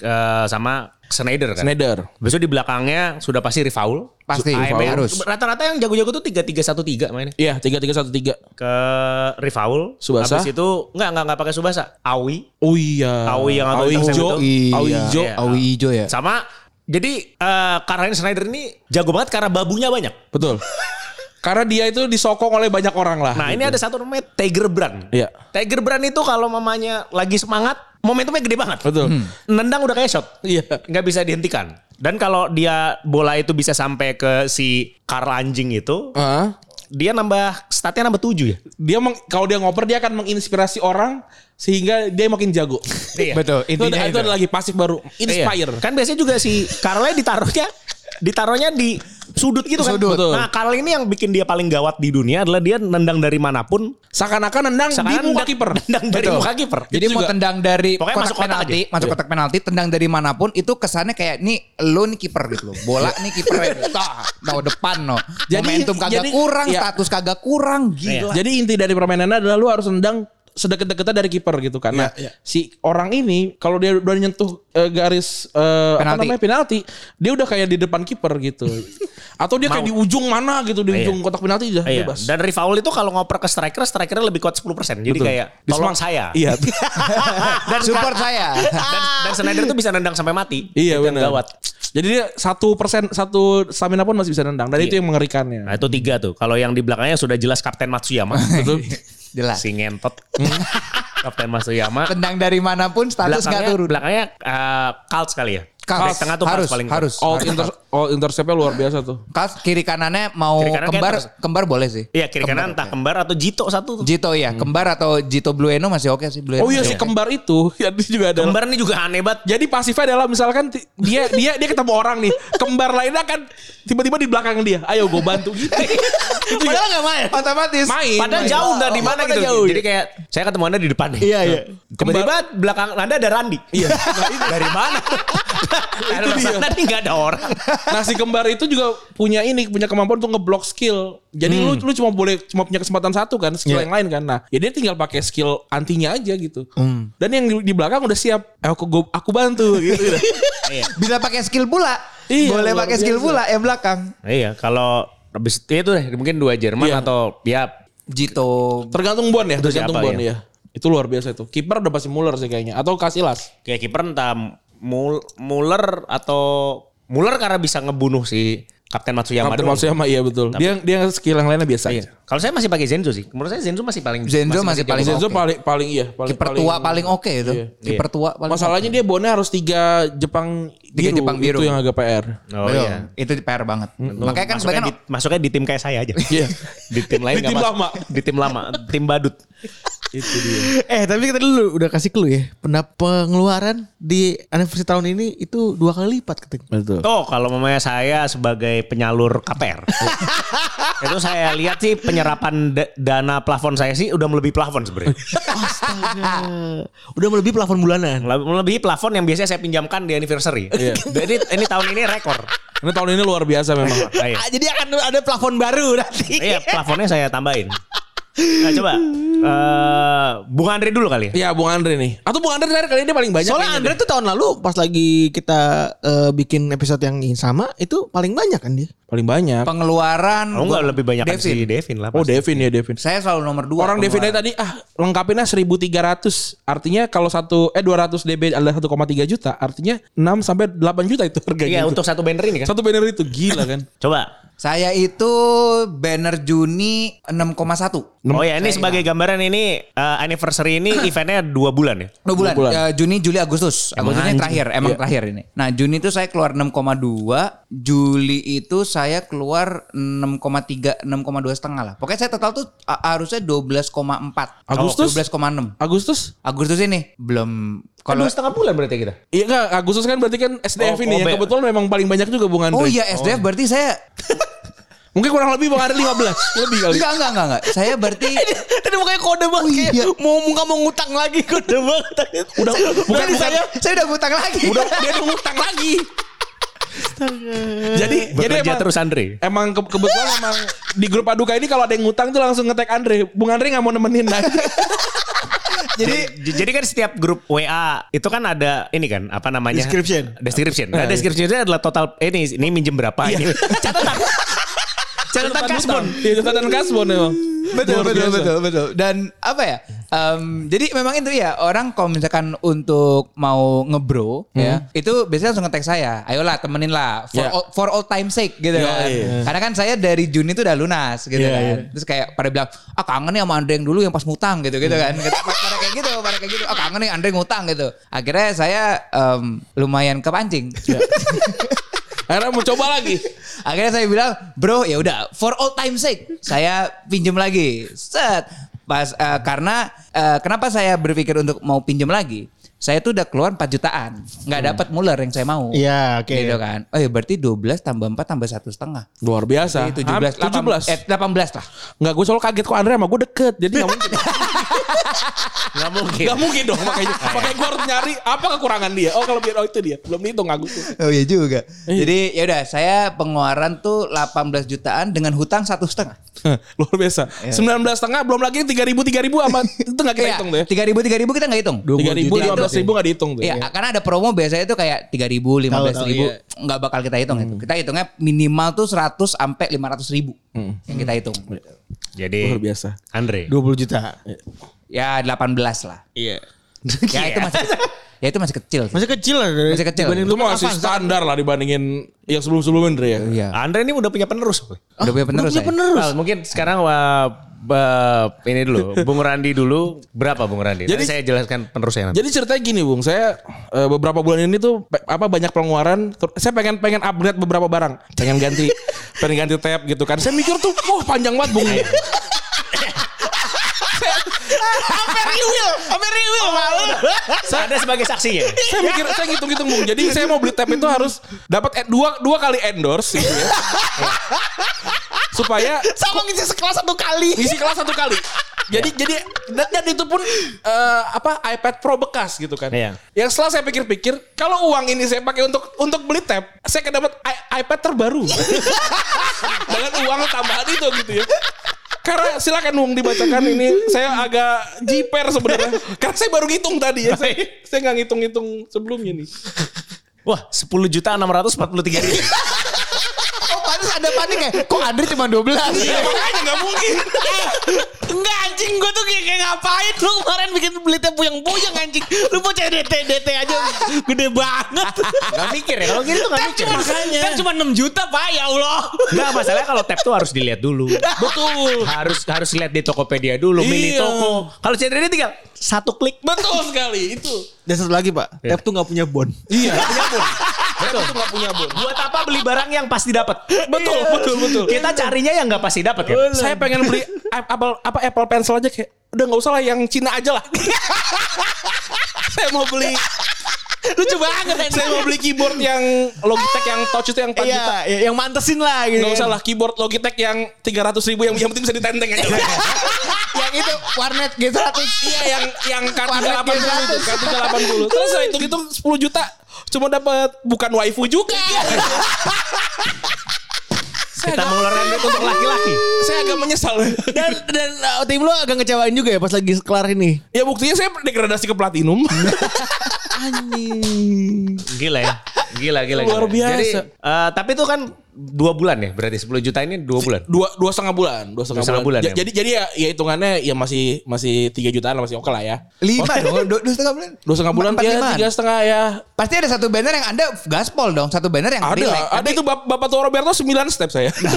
[SPEAKER 2] eh, sama Schneider kan.
[SPEAKER 3] Snyder.
[SPEAKER 2] Habis itu di belakangnya sudah pasti Rifaul.
[SPEAKER 1] Pasti,
[SPEAKER 2] AML.
[SPEAKER 1] harus.
[SPEAKER 2] Rata-rata yang jago-jago tuh 3-3-1-3 mainnya.
[SPEAKER 3] Iya, 3313.
[SPEAKER 2] Ke Rifaul.
[SPEAKER 3] Subasa.
[SPEAKER 2] Habis itu enggak enggak enggak pakai Subasa. Awi.
[SPEAKER 3] Oh iya.
[SPEAKER 2] Awi yang atau
[SPEAKER 3] Awi
[SPEAKER 2] intercept
[SPEAKER 3] hijau.
[SPEAKER 1] itu.
[SPEAKER 3] Awi
[SPEAKER 1] Iya.
[SPEAKER 3] hijau.
[SPEAKER 2] Iya.
[SPEAKER 1] Awi hijau ya.
[SPEAKER 2] Sama jadi eh Karl-Heinz Schneider ini jago banget karena babunya banyak.
[SPEAKER 3] Betul. Karena dia itu disokong oleh banyak orang lah.
[SPEAKER 2] Nah, ini ada satu namanya Tiger Brand.
[SPEAKER 3] Iya.
[SPEAKER 2] Tiger Brand itu kalau mamanya lagi semangat, momentumnya gede banget.
[SPEAKER 3] Betul.
[SPEAKER 2] Nendang udah kayak shot.
[SPEAKER 3] Iya.
[SPEAKER 2] Nggak bisa dihentikan. Dan kalau dia bola itu bisa sampai ke si Karl anjing itu,
[SPEAKER 3] Hah?
[SPEAKER 2] dia nambah statnya nambah 7 ya.
[SPEAKER 3] dia meng, kalau dia ngoper dia akan menginspirasi orang sehingga dia makin
[SPEAKER 2] [laughs]
[SPEAKER 3] jago.
[SPEAKER 2] Iya.
[SPEAKER 1] Betul,
[SPEAKER 3] itu, ada,
[SPEAKER 1] intinya
[SPEAKER 3] itu
[SPEAKER 1] itu.
[SPEAKER 3] ada lagi pasif baru inspire.
[SPEAKER 2] Iya. Kan biasanya juga si Karlnya ditaruhnya ditaruhnya di sudut gitu kan.
[SPEAKER 3] Sudut.
[SPEAKER 2] Nah, Karl ini yang bikin dia paling gawat di dunia adalah dia nendang dari manapun.
[SPEAKER 3] Seakan-akan nendang
[SPEAKER 2] Sekarang
[SPEAKER 3] di muka
[SPEAKER 2] nendang-
[SPEAKER 3] kiper.
[SPEAKER 2] Nendang dari
[SPEAKER 1] Betul.
[SPEAKER 2] muka kiper.
[SPEAKER 1] Jadi
[SPEAKER 3] Itu
[SPEAKER 1] mau
[SPEAKER 3] juga.
[SPEAKER 1] tendang dari
[SPEAKER 2] Pokoknya
[SPEAKER 1] kotak
[SPEAKER 2] masuk kotak
[SPEAKER 1] penalti,
[SPEAKER 2] aja.
[SPEAKER 1] masuk
[SPEAKER 2] Iya.
[SPEAKER 1] kotak penalti, tendang dari manapun itu kesannya kayak nih lu nih kiper gitu loh. Bola nih kiper gitu. Tah, tahu depan no.
[SPEAKER 3] Jadi-
[SPEAKER 1] Momentum kagak
[SPEAKER 3] jadi-
[SPEAKER 1] kurang,
[SPEAKER 3] iya.
[SPEAKER 1] status kagak kurang, Gitu. [laughs] gila.
[SPEAKER 3] Jadi inti dari permainannya adalah lu harus nendang sedekat-dekatnya dari kiper gitu karena
[SPEAKER 2] Iya,
[SPEAKER 3] si orang ini kalau dia udah nyentuh eh, garis eh, apa
[SPEAKER 1] Penalti.
[SPEAKER 3] namanya penalti dia udah kayak di depan kiper gitu
[SPEAKER 2] [laughs]
[SPEAKER 3] atau dia kayak di ujung mana gitu di
[SPEAKER 2] Iya.
[SPEAKER 3] ujung kotak penalti udah
[SPEAKER 2] Iya.
[SPEAKER 3] bebas
[SPEAKER 2] Dan Rifaul itu kalau ngoper ke striker, strikernya lebih kuat 10%. Jadi kayak tolong saya. [laughs]
[SPEAKER 3] iya
[SPEAKER 2] dan
[SPEAKER 1] Support saya.
[SPEAKER 2] Dan, dan Snyder tuh bisa nendang sampai mati.
[SPEAKER 3] Iya,
[SPEAKER 2] Itu yang
[SPEAKER 3] benar.
[SPEAKER 2] Gawat.
[SPEAKER 3] Jadi dia satu persen satu stamina pun masih bisa nendang. Dan itu yang mengerikannya.
[SPEAKER 2] Iya. Nah itu tiga tuh. Kalau yang di belakangnya sudah jelas Kapten Matsuyama. Betul.
[SPEAKER 1] Jelas.
[SPEAKER 2] si ngentot. Kapten Matsuyama.
[SPEAKER 1] Tendang dari manapun status nggak
[SPEAKER 2] Belakangnya,
[SPEAKER 1] turun.
[SPEAKER 2] belakangnya eh, Cult sekali ya.
[SPEAKER 1] Kaltz.
[SPEAKER 2] Back tengah tuh
[SPEAKER 1] harus
[SPEAKER 2] Cult paling
[SPEAKER 1] harus.
[SPEAKER 3] All, inter,
[SPEAKER 2] nah.
[SPEAKER 3] all interceptnya luar biasa tuh.
[SPEAKER 1] Kaltz kiri kanannya mau
[SPEAKER 2] Kiri kanan kayak
[SPEAKER 1] kembar
[SPEAKER 2] terus.
[SPEAKER 1] kembar boleh sih.
[SPEAKER 2] Iya kiri kanan entah kembar atau Jito satu tuh.
[SPEAKER 1] Jito ya, kembar atau Jito Blueno masih oke sih Blueno.
[SPEAKER 3] Oh iya si kembar itu. [laughs] Ya dia juga ada.
[SPEAKER 2] Kembar ini juga aneh banget.
[SPEAKER 3] Jadi pasifnya adalah misalkan ti- dia dia dia ketemu orang nih, kembar lainnya kan tiba-tiba di belakang dia. Ayo gue bantu
[SPEAKER 2] [laughs]
[SPEAKER 3] gitu. itu juga
[SPEAKER 5] Padahal nggak main.
[SPEAKER 1] otomatis.
[SPEAKER 3] main.
[SPEAKER 2] Padahal
[SPEAKER 3] main.
[SPEAKER 2] jauh dari mana gitu. Jadi kayak saya ketemu Anda di depan nih.
[SPEAKER 5] Iya, iya.
[SPEAKER 2] Tiba-tiba belakang Anda ada Randi. Iya. [laughs] dari mana? Ada perasaan Tadi nggak ada orang.
[SPEAKER 3] Nah si kembar itu juga punya ini punya kemampuan untuk ngeblok skill. Jadi
[SPEAKER 2] Hmm.
[SPEAKER 3] lu lu cuma boleh cuma punya kesempatan satu kan skill
[SPEAKER 2] Iya.
[SPEAKER 3] yang lain kan. Nah ya dia tinggal pakai skill antinya aja gitu.
[SPEAKER 2] Hmm.
[SPEAKER 3] Dan yang di, di belakang udah siap. Eh, aku gua- aku bantu
[SPEAKER 2] [laughs]
[SPEAKER 3] gitu.
[SPEAKER 1] Bisa pakai skill pula.
[SPEAKER 3] Iya,
[SPEAKER 1] boleh
[SPEAKER 3] luar
[SPEAKER 1] pakai skill
[SPEAKER 3] biasa.
[SPEAKER 1] pula yang belakang.
[SPEAKER 2] Iya, kalau habis itu ya itu deh mungkin dua Jerman
[SPEAKER 3] Iya.
[SPEAKER 2] atau ya
[SPEAKER 1] Jito
[SPEAKER 3] Tergantung Bon ya,
[SPEAKER 2] Itu
[SPEAKER 3] tergantung
[SPEAKER 2] siapa
[SPEAKER 3] Bon
[SPEAKER 2] ya?
[SPEAKER 3] ya. Itu luar biasa itu. Kiper udah pasti Muller sih kayaknya atau Casillas.
[SPEAKER 2] kayak kiper entah Mul Muller atau Muller karena bisa ngebunuh si Kapten Matsuyama
[SPEAKER 3] Kapten
[SPEAKER 2] doang.
[SPEAKER 3] Matsuyama iya betul. Dia dia skill yang lainnya biasa
[SPEAKER 2] Iya.
[SPEAKER 3] aja.
[SPEAKER 2] Kalau saya masih pakai Zenzo sih. Menurut saya Zenzo masih paling
[SPEAKER 1] Zenzo masih paling
[SPEAKER 3] Zenzo
[SPEAKER 1] oke.
[SPEAKER 3] paling paling iya paling
[SPEAKER 1] Kiper tua paling oke itu.
[SPEAKER 3] Iya.
[SPEAKER 1] Kiper tua paling.
[SPEAKER 3] Masalahnya dia bonnya harus tiga Jepang
[SPEAKER 1] Tiga
[SPEAKER 3] biru.
[SPEAKER 1] Jepang biru.
[SPEAKER 3] Itu yang agak PR.
[SPEAKER 2] Oh
[SPEAKER 1] Betul.
[SPEAKER 2] iya.
[SPEAKER 1] Itu PR banget. Makanya kan
[SPEAKER 2] Masuknya
[SPEAKER 1] sebenarnya
[SPEAKER 2] di, masuknya di tim kayak saya
[SPEAKER 1] [laughs]
[SPEAKER 2] aja.
[SPEAKER 3] Iya.
[SPEAKER 2] di tim lain
[SPEAKER 3] Di
[SPEAKER 2] nggak
[SPEAKER 3] tim
[SPEAKER 2] masuk.
[SPEAKER 3] lama.
[SPEAKER 2] Di tim lama, tim badut.
[SPEAKER 4] Eh tapi kita dulu udah kasih clue ya. Pendap pengeluaran di anniversary tahun ini itu dua kali lipat katanya.
[SPEAKER 3] Betul.
[SPEAKER 2] Tuh kalau mamanya saya sebagai penyalur
[SPEAKER 1] [laughs]
[SPEAKER 2] KPR. itu saya lihat sih penyerapan da- dana plafon saya sih udah melebihi plafon sebenarnya.
[SPEAKER 4] Astaga. Eh, udah melebihi plafon bulanan.
[SPEAKER 2] Mele- melebihi plafon yang biasanya saya pinjamkan di anniversary. [laughs] Jadi ini tahun ini rekor.
[SPEAKER 3] Ini tahun ini luar biasa memang.
[SPEAKER 2] Ah, iya.
[SPEAKER 4] Ah, jadi akan ada plafon baru nanti.
[SPEAKER 2] Iya, plafonnya saya tambahin. Nah, coba eh Bung Andri dulu kali ya.
[SPEAKER 3] Iya Bung Andre nih. Atau Bung Andre terakhir kali dia paling banyak.
[SPEAKER 4] Soalnya Andre tuh tahun lalu pas lagi kita eh, bikin episode yang sama itu paling banyak kan dia.
[SPEAKER 3] paling banyak.
[SPEAKER 1] pengeluaran
[SPEAKER 2] Kamu Oh, nggak
[SPEAKER 1] gua-
[SPEAKER 2] lebih banyak
[SPEAKER 1] Devin.
[SPEAKER 2] si Devin lah.
[SPEAKER 3] Oh
[SPEAKER 2] pasti.
[SPEAKER 3] Devin ya Devin.
[SPEAKER 1] Saya selalu nomor dua.
[SPEAKER 3] Orang Devin aja
[SPEAKER 1] pengeluaran.
[SPEAKER 3] tadi ah lengkapinnya 1300. Artinya kalau satu eh 200 DB adalah 1,3 juta, artinya 6 sampai 8 juta itu harganya.
[SPEAKER 2] Iya
[SPEAKER 3] itu.
[SPEAKER 2] untuk satu banner ini kan.
[SPEAKER 3] satu banner itu gila
[SPEAKER 1] [laughs]
[SPEAKER 3] kan.
[SPEAKER 2] Coba
[SPEAKER 1] Saya itu banner Juni 6,1.
[SPEAKER 2] Oh ya ini sebagai gambaran ini eh, anniversary ini eventnya dua bulan ya.
[SPEAKER 1] Dua bulan,
[SPEAKER 3] bulan.
[SPEAKER 1] Eh, Juni, Juli, Agustus. Agustusnya terakhir, emang terakhir ini. Nah, Juni itu saya keluar 6,2, Juli itu saya keluar 6,3, 6,2 setengah lah. Pokoknya saya total tuh a- harusnya 12,4.
[SPEAKER 3] Agustus?
[SPEAKER 1] Oh, 12,6.
[SPEAKER 3] Agustus?
[SPEAKER 1] Agustus ini belum kalau
[SPEAKER 2] setengah bulan berarti kita.
[SPEAKER 3] Iya enggak, Agustus kan berarti kan SDF
[SPEAKER 2] Oh,
[SPEAKER 3] ini ya.
[SPEAKER 2] Kobe.
[SPEAKER 3] Kebetulan memang paling banyak juga Bung Andre.
[SPEAKER 1] Oh iya SDF berarti saya
[SPEAKER 3] Mungkin kurang lebih Bung Andre 15 [laughs] lebih kali. Oh
[SPEAKER 1] enggak enggak enggak enggak. Saya [laughs] berarti
[SPEAKER 4] Tadi mukanya kode banget kayak mau muka mau ngutang lagi kode banget.
[SPEAKER 3] iya. Udah bukan
[SPEAKER 1] Berarti
[SPEAKER 3] saya.
[SPEAKER 1] saya saya udah ngutang lagi.
[SPEAKER 3] Udah dia udah ngutang lagi. jadi jadi
[SPEAKER 2] Bekerja
[SPEAKER 3] emang,
[SPEAKER 2] terus Andri.
[SPEAKER 3] emang ke- kebetulan emang di grup paduka ini kalau ada yang ngutang tuh langsung ngetek Andre. Bung Andre nggak mau nemenin nah. lagi.
[SPEAKER 2] Jadi jadi kan setiap grup WA itu kan ada ini kan apa namanya?
[SPEAKER 4] Description.
[SPEAKER 2] Description. Nah, description itu adalah total eh, ini ini minjem berapa [laughs] ini. Catatan. Catatan kasbon.
[SPEAKER 3] Iya, catatan kasbon emang.
[SPEAKER 1] betul
[SPEAKER 3] Luar
[SPEAKER 1] betul
[SPEAKER 3] biasa.
[SPEAKER 1] betul betul dan apa ya em, jadi memang itu ya orang kalau misalkan untuk mau ngebro ya itu biasanya langsung ngetek saya ayolah temenin lah for,
[SPEAKER 3] Hmm. Ya.
[SPEAKER 1] all, for all time sake gitu
[SPEAKER 3] Ya,
[SPEAKER 1] kan
[SPEAKER 3] iya.
[SPEAKER 1] karena kan saya dari Juni itu udah lunas gitu
[SPEAKER 3] Ya,
[SPEAKER 1] kan
[SPEAKER 3] iya.
[SPEAKER 1] terus kayak pada bilang ah kangen nih sama Andre yang dulu yang pas ngutang gitu
[SPEAKER 3] Hmm.
[SPEAKER 1] gitu kan Kata- pada kayak gitu pada kayak gitu ah kangen nih Andre ngutang gitu akhirnya saya em, lumayan kepancing
[SPEAKER 3] Akhirnya mau coba lagi.
[SPEAKER 1] Akhirnya saya bilang, bro ya udah for all time sake saya pinjem lagi. Set pas eh, karena eh, kenapa saya berpikir untuk mau pinjem lagi? Saya tuh udah keluar 4 jutaan, nggak dapat Muller yang saya mau.
[SPEAKER 4] Iya, oke.
[SPEAKER 1] Gitu kan. Oh ya berarti 12 tambah 4 tambah satu setengah.
[SPEAKER 3] Luar biasa.
[SPEAKER 1] Jadi 17,
[SPEAKER 3] Ham-
[SPEAKER 1] 18,
[SPEAKER 3] 17.
[SPEAKER 1] eh, 18 lah.
[SPEAKER 3] Enggak, gue selalu kaget kok Andre sama gue deket. Jadi gak mungkin.
[SPEAKER 2] Enggak mungkin.
[SPEAKER 3] gak mungkin dong makanya. Makanya gue harus nyari apa kekurangan dia. Oh kalau biar oh itu dia. Belum dihitung Agustus.
[SPEAKER 1] Oh iya juga. Jadi ya udah saya pengeluaran tuh 18 jutaan dengan hutang satu setengah.
[SPEAKER 3] Hah, Luar biasa. 19 setengah belum lagi 3000 3000 amat. Itu gak kita
[SPEAKER 1] Iya,
[SPEAKER 3] hitung tuh ya.
[SPEAKER 1] 3.000 3.000 kita nggak hitung.
[SPEAKER 3] 3000
[SPEAKER 1] Jadi itu-
[SPEAKER 3] 15000 gak dihitung tuh.
[SPEAKER 1] Iya, karena ada promo biasanya itu kayak 3000, ribu, lima
[SPEAKER 4] Tahu, tahu,
[SPEAKER 1] ribu,
[SPEAKER 4] iya. Hmm.
[SPEAKER 1] nggak bakal kita hitung itu. Kita hitungnya minimal tuh 100 sampai 500 ribu
[SPEAKER 4] Hmm.
[SPEAKER 1] yang kita hitung.
[SPEAKER 2] Jadi
[SPEAKER 3] Luar biasa.
[SPEAKER 2] Andre.
[SPEAKER 4] 20 juta.
[SPEAKER 1] Ya 18 lah.
[SPEAKER 3] Iya.
[SPEAKER 4] [laughs]
[SPEAKER 1] Ya itu masih ya itu masih kecil.
[SPEAKER 4] Masih kecil lah. dari-
[SPEAKER 1] Masih kecil.
[SPEAKER 4] dibanding
[SPEAKER 3] Itu
[SPEAKER 4] Lukman
[SPEAKER 3] masih
[SPEAKER 4] Avanza.
[SPEAKER 3] standar lah dibandingin yang sebelum-sebelumnya Dre ya.
[SPEAKER 1] Iya.
[SPEAKER 2] Andre ini udah punya penerus. woy.
[SPEAKER 1] Udah punya penerus.
[SPEAKER 4] Ah,
[SPEAKER 1] ya?
[SPEAKER 4] punya
[SPEAKER 1] saya.
[SPEAKER 4] penerus.
[SPEAKER 2] Al, mungkin sekarang wah, bah, ini dulu Bung Randi dulu berapa Bung Randi? Jadi
[SPEAKER 3] Jadi-
[SPEAKER 2] saya jelaskan penerusnya nanti.
[SPEAKER 3] Jadi ceritanya gini Bung, saya eh, beberapa bulan ini tuh pe- apa banyak pengeluaran, ter- saya pengen pengen upgrade beberapa barang, pengen ganti pengen ganti tab gitu kan. Saya mikir tuh, wah panjang banget Bung.
[SPEAKER 2] Ada sebagai saksi ya.
[SPEAKER 3] saya mikir saya ngitung-ngitung Bung. Jadi saya mau beli tab itu harus dapat eh, dua dua kali endorse gitu ya. Supaya
[SPEAKER 4] Sama ngisi sekelas satu kali.
[SPEAKER 3] ngisi kelas satu kali. Jadi jadi dan, dan itu pun eh, apa iPad Pro bekas gitu kan.
[SPEAKER 2] Iya.
[SPEAKER 3] Yang setelah saya pikir-pikir, kalau uang ini saya pakai untuk untuk beli tab, saya akan dapat i- iPad terbaru. [laughs] Dengan uang tambahan itu gitu ya. Karena silakan Wong dibacakan ini saya agak jiper sebenarnya. Karena saya baru ngitung tadi ya. Saya saya nggak ngitung-ngitung sebelumnya nih.
[SPEAKER 2] Wah, 10 juta 643 ribu.
[SPEAKER 4] Oh pantas ada panik ya. Kok Andre cuma 12?
[SPEAKER 1] Iya.
[SPEAKER 3] Makanya nggak mungkin.
[SPEAKER 5] Enggak anjing gue tuh kayak, kayak ngapain lu kemarin bikin beli teh puyeng-puyeng anjing. Lu mau cari DT DT aja gede banget.
[SPEAKER 2] Gak mikir ya kalau gitu gak
[SPEAKER 5] Kan
[SPEAKER 2] mikir.
[SPEAKER 5] cuma kan cuma 6 juta Pak ya Allah.
[SPEAKER 2] Enggak masalah kalau tab tuh harus dilihat dulu. Betul. Harus harus lihat di Tokopedia dulu, milih
[SPEAKER 3] Iya.
[SPEAKER 2] toko. Kalau Chandra ini tinggal satu klik.
[SPEAKER 3] Betul sekali itu.
[SPEAKER 4] Dan satu lagi pak.
[SPEAKER 5] Tep tuh gak punya bon.
[SPEAKER 3] Iya, punya bon.
[SPEAKER 2] Betul.
[SPEAKER 3] Itu nggak punya bon.
[SPEAKER 2] Buat apa beli barang yang pasti dapat?
[SPEAKER 3] Betul, betul, betul.
[SPEAKER 2] Kita carinya yang nggak pasti dapat kan?
[SPEAKER 3] saya pengen beli Apple apa Apple Pencil aja kayak udah nggak usah lah yang Cina aja lah. saya mau beli
[SPEAKER 5] Lucu banget anjing.
[SPEAKER 3] saya mau beli keyboard yang Logitech yang touch itu yang 4 juta.
[SPEAKER 5] Iya, yang mantesin lah gitu.
[SPEAKER 3] Nggak usah lah keyboard Logitech yang 300 ribu yang yang penting bisa ditenteng aja. lah.
[SPEAKER 4] [laughs] Yang itu warnet G100.
[SPEAKER 3] iya yang yang kartu
[SPEAKER 4] Warnet
[SPEAKER 3] 80 itu, kartu 80. Terus saya hitung-hitung 10 juta cuma dapat bukan waifu juga.
[SPEAKER 2] Iya.
[SPEAKER 3] saya
[SPEAKER 2] Kita
[SPEAKER 3] agak,
[SPEAKER 2] mengeluarkan duit untuk laki-laki.
[SPEAKER 3] saya agak menyesal.
[SPEAKER 4] Dan dan uh, tim lo agak ngecewain juga ya pas lagi kelar ini.
[SPEAKER 3] ya buktinya saya degradasi
[SPEAKER 2] [laughs]
[SPEAKER 3] ke platinum.
[SPEAKER 4] Anjing.
[SPEAKER 2] Gila ya. Gila, gila.
[SPEAKER 3] Luar
[SPEAKER 2] gila.
[SPEAKER 3] biasa.
[SPEAKER 2] Jadi, eh, tapi itu kan dua bulan ya berarti 10 juta ini dua bulan.
[SPEAKER 3] dua dua setengah bulan dua setengah,
[SPEAKER 2] setengah
[SPEAKER 3] bulan,
[SPEAKER 2] bulan,
[SPEAKER 3] Ja-
[SPEAKER 2] ya.
[SPEAKER 3] jadi jadi ya, ya hitungannya ya masih masih tiga jutaan lah masih oke lah ya
[SPEAKER 1] Lima
[SPEAKER 5] Oh.
[SPEAKER 1] dong, dua, dua setengah bulan.
[SPEAKER 3] dua setengah bulan
[SPEAKER 1] Empat
[SPEAKER 3] ya
[SPEAKER 1] limaan.
[SPEAKER 3] tiga setengah ya
[SPEAKER 1] Pasti ada satu banner yang anda gaspol dong, satu banner yang kan?
[SPEAKER 3] ada
[SPEAKER 2] ya?
[SPEAKER 1] relax.
[SPEAKER 3] ada itu bap- bapak tua Roberto sembilan step saya
[SPEAKER 2] Nah.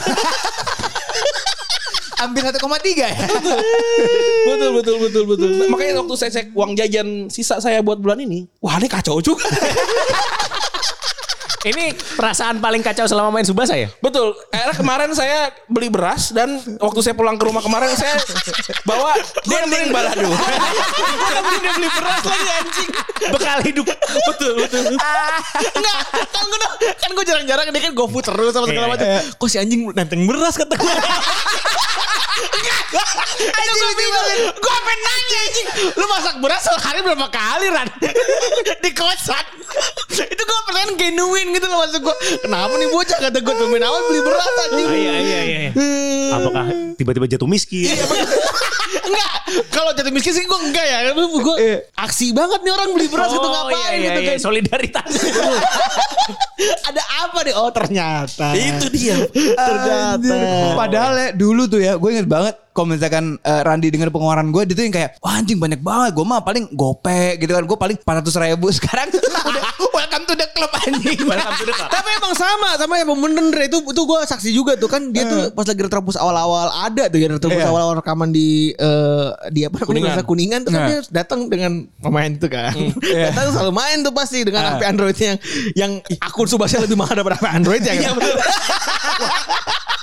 [SPEAKER 1] Ambil 1,3
[SPEAKER 4] [laughs]
[SPEAKER 1] ya.
[SPEAKER 3] [laughs] betul betul betul betul Nah, makanya waktu saya cek uang jajan sisa saya buat bulan ini wah ini kacau juga
[SPEAKER 2] [laughs] Ini perasaan paling kacau selama main Subasa ya?
[SPEAKER 3] betul akhirnya kemarin saya beli beras dan waktu saya pulang ke rumah kemarin saya bawa dendeng balado
[SPEAKER 5] udah beli beras lagi anjing.
[SPEAKER 2] Bekal hidup.
[SPEAKER 3] betul betul
[SPEAKER 5] Enggak, kan gue kan gue jarang-jarang dia kan GoFood terus sama segala
[SPEAKER 2] Iya,
[SPEAKER 5] macam. Kok si anjing nanteng beras kata gue. Anjing gue bingung. Gue pengen nanya anjing. Lu masak beras sehari berapa kali Ran? [laughs] Di kosan. Itu gue pengen genuine gitu loh maksud gue. Kenapa nih bocah kata gue domain awal beli beras anjing.
[SPEAKER 2] Iya, iya, iya. Apakah tiba-tiba jatuh miskin?
[SPEAKER 5] Enggak. Kalau jatuh miskin sih gue enggak ya. Gue aksi banget nih orang beli beras gitu
[SPEAKER 2] Oh,
[SPEAKER 5] ngapain
[SPEAKER 2] iya, iya,
[SPEAKER 5] gitu
[SPEAKER 2] iya.
[SPEAKER 5] kan.
[SPEAKER 2] Solidaritas.
[SPEAKER 5] Ada apa deh? Oh ternyata.
[SPEAKER 3] itu dia
[SPEAKER 5] Ternyata.
[SPEAKER 1] Padahal ya dulu tuh ya gue inget banget kalau misalkan eh, Randi denger pengeluaran gue dia tuh yang kayak Wah anjing banyak banget gue mah paling gope gitu kan gue paling 400 ribu [laughs] sekarang udah welcome to the club anjing
[SPEAKER 2] Welcome to the club.
[SPEAKER 4] Tapi emang sama, sama emang bener Dre. itu itu gue saksi juga tuh kan dia tuh pas lagi retrobus awal-awal ada tuh ya
[SPEAKER 1] Eh.
[SPEAKER 4] retrobus
[SPEAKER 1] Iya.
[SPEAKER 4] awal-awal rekaman di eh, di apa namanya
[SPEAKER 3] Kuningan.
[SPEAKER 4] Nusa kuningan tuh kan
[SPEAKER 1] Nah. Hmm, iya.
[SPEAKER 4] dia datang dengan pemain tuh kan, [laughs] datang selalu main tuh pasti dengan
[SPEAKER 1] Ah.
[SPEAKER 4] HP Androidnya yang yang akun subasnya lebih mahal daripada HP Android ya
[SPEAKER 1] Iya,
[SPEAKER 4] kan.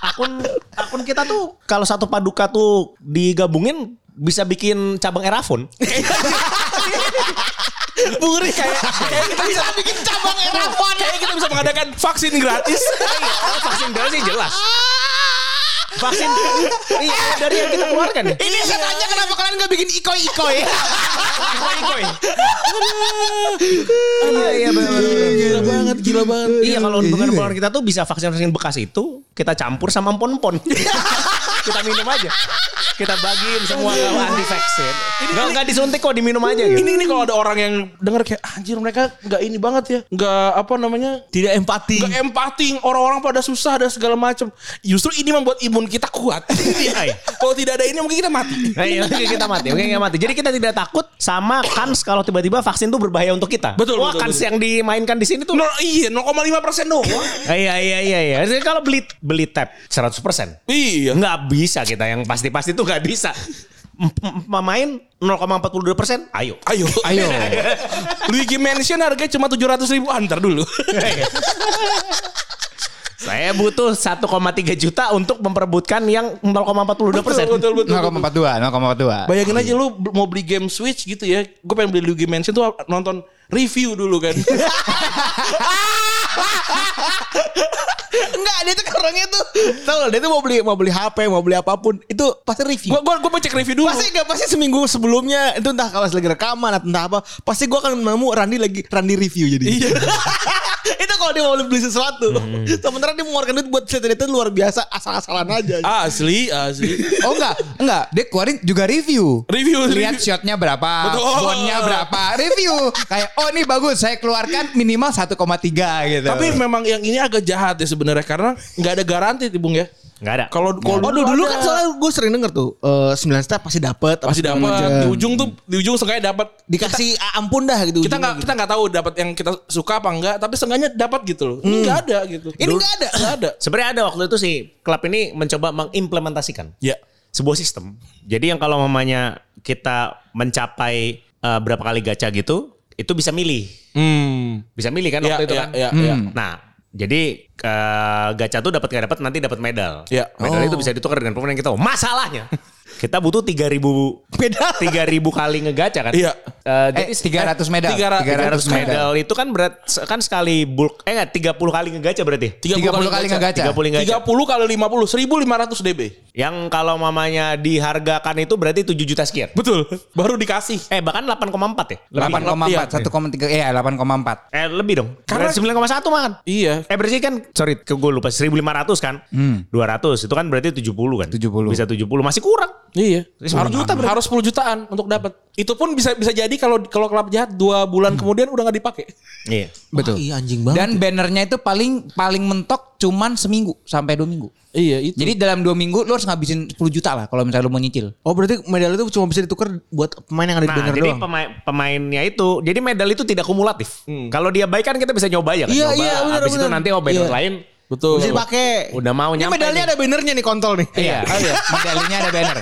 [SPEAKER 2] akun akun kita tuh kalau satu paduka tuh digabungin bisa bikin cabang [laughs] Erafon.
[SPEAKER 3] Buri kayak kayak kita bisa
[SPEAKER 5] bikin cabang Erafon.
[SPEAKER 3] kayak kita bisa mengadakan vaksin gratis
[SPEAKER 2] oh, vaksin doang sih jelas. Vaksin iya, dari yang kita keluarkan ya.
[SPEAKER 5] Ini saya tanya kenapa kalian gak bikin ikoi-ikoi?
[SPEAKER 2] Ikoi-ikoi.
[SPEAKER 1] Iya iya bener-bener.
[SPEAKER 4] Gila banget, gila banget.
[SPEAKER 1] Iya,
[SPEAKER 3] Iya,
[SPEAKER 2] Iya kalau dengan keluarga kita tuh bisa vaksin vaksin bekas itu kita campur sama empon-empon. [laughs] kita minum aja. Kita bagiin semua ke anti vaksin. Enggak enggak disuntik kok diminum aja gitu.
[SPEAKER 3] Ini ini kalau ada orang yang denger kayak "Ah, anjir mereka nggak ini banget ya, nggak apa namanya
[SPEAKER 5] Tidak empati.
[SPEAKER 3] nggak empati orang-orang pada susah dan segala macam. Justru ini membuat imun kita kuat. Iya, iya. kalau tidak ada ini mungkin kita mati.
[SPEAKER 2] Nah, iya, mungkin kita mati, mungkin kita mati. Jadi kita tidak takut sama kans kalau tiba-tiba vaksin tuh berbahaya untuk kita.
[SPEAKER 3] Betul,
[SPEAKER 2] Wah,
[SPEAKER 3] betul,
[SPEAKER 2] kans
[SPEAKER 3] betul.
[SPEAKER 2] yang dimainkan di sini tuh.
[SPEAKER 3] Nol, iya 0,5 persen doang.
[SPEAKER 2] Ah, Iya, iya, iya, iya. Jadi kalau beli beli tab 100%.
[SPEAKER 3] iya.
[SPEAKER 2] Nggak bisa kita yang pasti-pasti tuh nggak bisa. M- m- Main 0,42 persen, ayo.
[SPEAKER 3] Ayo,
[SPEAKER 1] Ayo.
[SPEAKER 3] Luigi Mansion harganya cuma 700 ribu antar dulu.
[SPEAKER 2] Saya butuh 1,3 juta untuk memperebutkan yang 0,42 persen.
[SPEAKER 3] betul, betul.
[SPEAKER 1] 0,42, 0,42.
[SPEAKER 3] Bayangin aja lu b- mau beli game Switch gitu ya. Gue pengen beli Luigi Mansion tuh nonton review dulu kan.
[SPEAKER 4] Iya, Enggak, dia tuh orangnya tuh tahu loh, dia tuh mau beli mau beli HP, mau beli apapun, itu pasti review.
[SPEAKER 3] Gue gue gue mau cek review dulu.
[SPEAKER 4] Pasti enggak pasti seminggu sebelumnya itu entah kalau lagi rekaman atau entah apa, pasti gua akan nemu Randi lagi Randi review jadi. Iya. itu kalau dia mau beli sesuatu. Sementara dia mengeluarkan duit buat cerita-cerita luar biasa asal-asalan aja.
[SPEAKER 3] Ah, Asli, asli.
[SPEAKER 1] Oh enggak, enggak. Dia keluarin juga review.
[SPEAKER 3] Review,
[SPEAKER 1] Lihat
[SPEAKER 3] review.
[SPEAKER 1] shotnya berapa,
[SPEAKER 3] Betul.
[SPEAKER 1] bonnya berapa, review. Kayak oh ini bagus, saya keluarkan minimal 1,3 gitu.
[SPEAKER 3] Tapi memang yang ini agak jahat ya sebenarnya karena nggak ada garansi tuh Bung ya.
[SPEAKER 2] Nggak ada.
[SPEAKER 3] Kalau kalau
[SPEAKER 4] Oh dulu, dulu kan soalnya gue sering denger tuh eh, 9 step pasti dapat
[SPEAKER 3] pasti dapat di ujung tuh di ujung seenggaknya dapat
[SPEAKER 4] dikasih "Ah, ampun dah gitu ujungnya
[SPEAKER 3] kita nggak
[SPEAKER 4] gitu.
[SPEAKER 3] kita nggak tahu dapat yang kita suka apa enggak tapi seenggaknya dapat gitu loh ini nggak ada gitu
[SPEAKER 4] Ini nggak ada.
[SPEAKER 3] nggak ada
[SPEAKER 2] Sebenarnya ada waktu itu sih klub ini mencoba mengimplementasikan
[SPEAKER 3] ya
[SPEAKER 2] sebuah sistem. Jadi yang kalau mamanya kita mencapai eh, berapa kali gacha gitu, itu bisa milih.
[SPEAKER 3] hmm
[SPEAKER 2] Bisa milih kan
[SPEAKER 3] ya
[SPEAKER 2] waktu itu
[SPEAKER 3] ya
[SPEAKER 2] kan.
[SPEAKER 3] ya
[SPEAKER 1] Hmm.
[SPEAKER 3] ya.
[SPEAKER 2] Nah, jadi eh, gacha tuh dapat nggak dapat nanti dapat medal.
[SPEAKER 3] Ya.
[SPEAKER 2] Medal itu bisa ditukar dengan pemain yang kita mau. Masalahnya kita butuh 3000
[SPEAKER 3] [laughs]
[SPEAKER 4] Medal.
[SPEAKER 2] 3000 kali ngegacha kan.
[SPEAKER 3] Iya.
[SPEAKER 2] Eh,
[SPEAKER 1] eh,
[SPEAKER 2] jadi
[SPEAKER 1] 300 medal.
[SPEAKER 3] 300
[SPEAKER 2] 300 medal itu kan berat kan sekali bulk eh enggak 30 kali ngegacha berarti.
[SPEAKER 1] 30 kali ngegacha.
[SPEAKER 2] 30 ngegacha.
[SPEAKER 3] 30 kali 50 1500 [laughs] DB
[SPEAKER 2] Yang kalau mamanya dihargakan itu berarti 7 juta sekian.
[SPEAKER 3] betul baru dikasih
[SPEAKER 2] Eh bahkan 8,4 ya? Lebih.
[SPEAKER 1] 8,4, 1,3 ya 8,4.
[SPEAKER 2] Eh lebih dong.
[SPEAKER 3] Karena-
[SPEAKER 2] Karena 9,1 makan.
[SPEAKER 3] iya
[SPEAKER 2] Eh berarti kan sorry ke gue lupa 1500 kan. 200 itu kan berarti 70 kan.
[SPEAKER 1] 70.
[SPEAKER 2] Bisa 70 masih kurang.
[SPEAKER 3] iya
[SPEAKER 2] Kurang.
[SPEAKER 3] harus juta berarti. harus 10 jutaan untuk dapat itu pun bisa bisa jadi kalau kalau klub jahat dua bulan kemudian udah nggak dipakai
[SPEAKER 2] Iya.
[SPEAKER 1] Betul.
[SPEAKER 4] Wah, iya, anjing banget.
[SPEAKER 1] Dan bannernya itu paling paling mentok cuman seminggu sampai dua minggu.
[SPEAKER 3] iya itu
[SPEAKER 1] Jadi dalam dua minggu lu harus ngabisin 10 juta lah kalau misalnya lu mau nyicil.
[SPEAKER 4] Oh berarti medali itu cuma bisa ditukar buat pemain yang ada di
[SPEAKER 2] Nah,
[SPEAKER 4] banner
[SPEAKER 2] jadi
[SPEAKER 4] doang.
[SPEAKER 2] pemain- pemainnya itu, jadi medal itu tidak kumulatif. Kalau dia baik kan kita bisa nyoba ya kan.
[SPEAKER 4] Iya,
[SPEAKER 2] nyoba.
[SPEAKER 4] iya, benar,
[SPEAKER 2] Habis itu
[SPEAKER 4] benar.
[SPEAKER 2] nanti oh banner
[SPEAKER 4] Iya.
[SPEAKER 2] lain
[SPEAKER 3] betul
[SPEAKER 4] Bisa dipakai.
[SPEAKER 2] udah mau
[SPEAKER 4] Ini
[SPEAKER 2] nyampe.
[SPEAKER 4] medalnya
[SPEAKER 2] nih.
[SPEAKER 4] ada bannernya nih kontol nih.
[SPEAKER 1] Iya.
[SPEAKER 2] Oh,
[SPEAKER 1] Medalinya ada banner.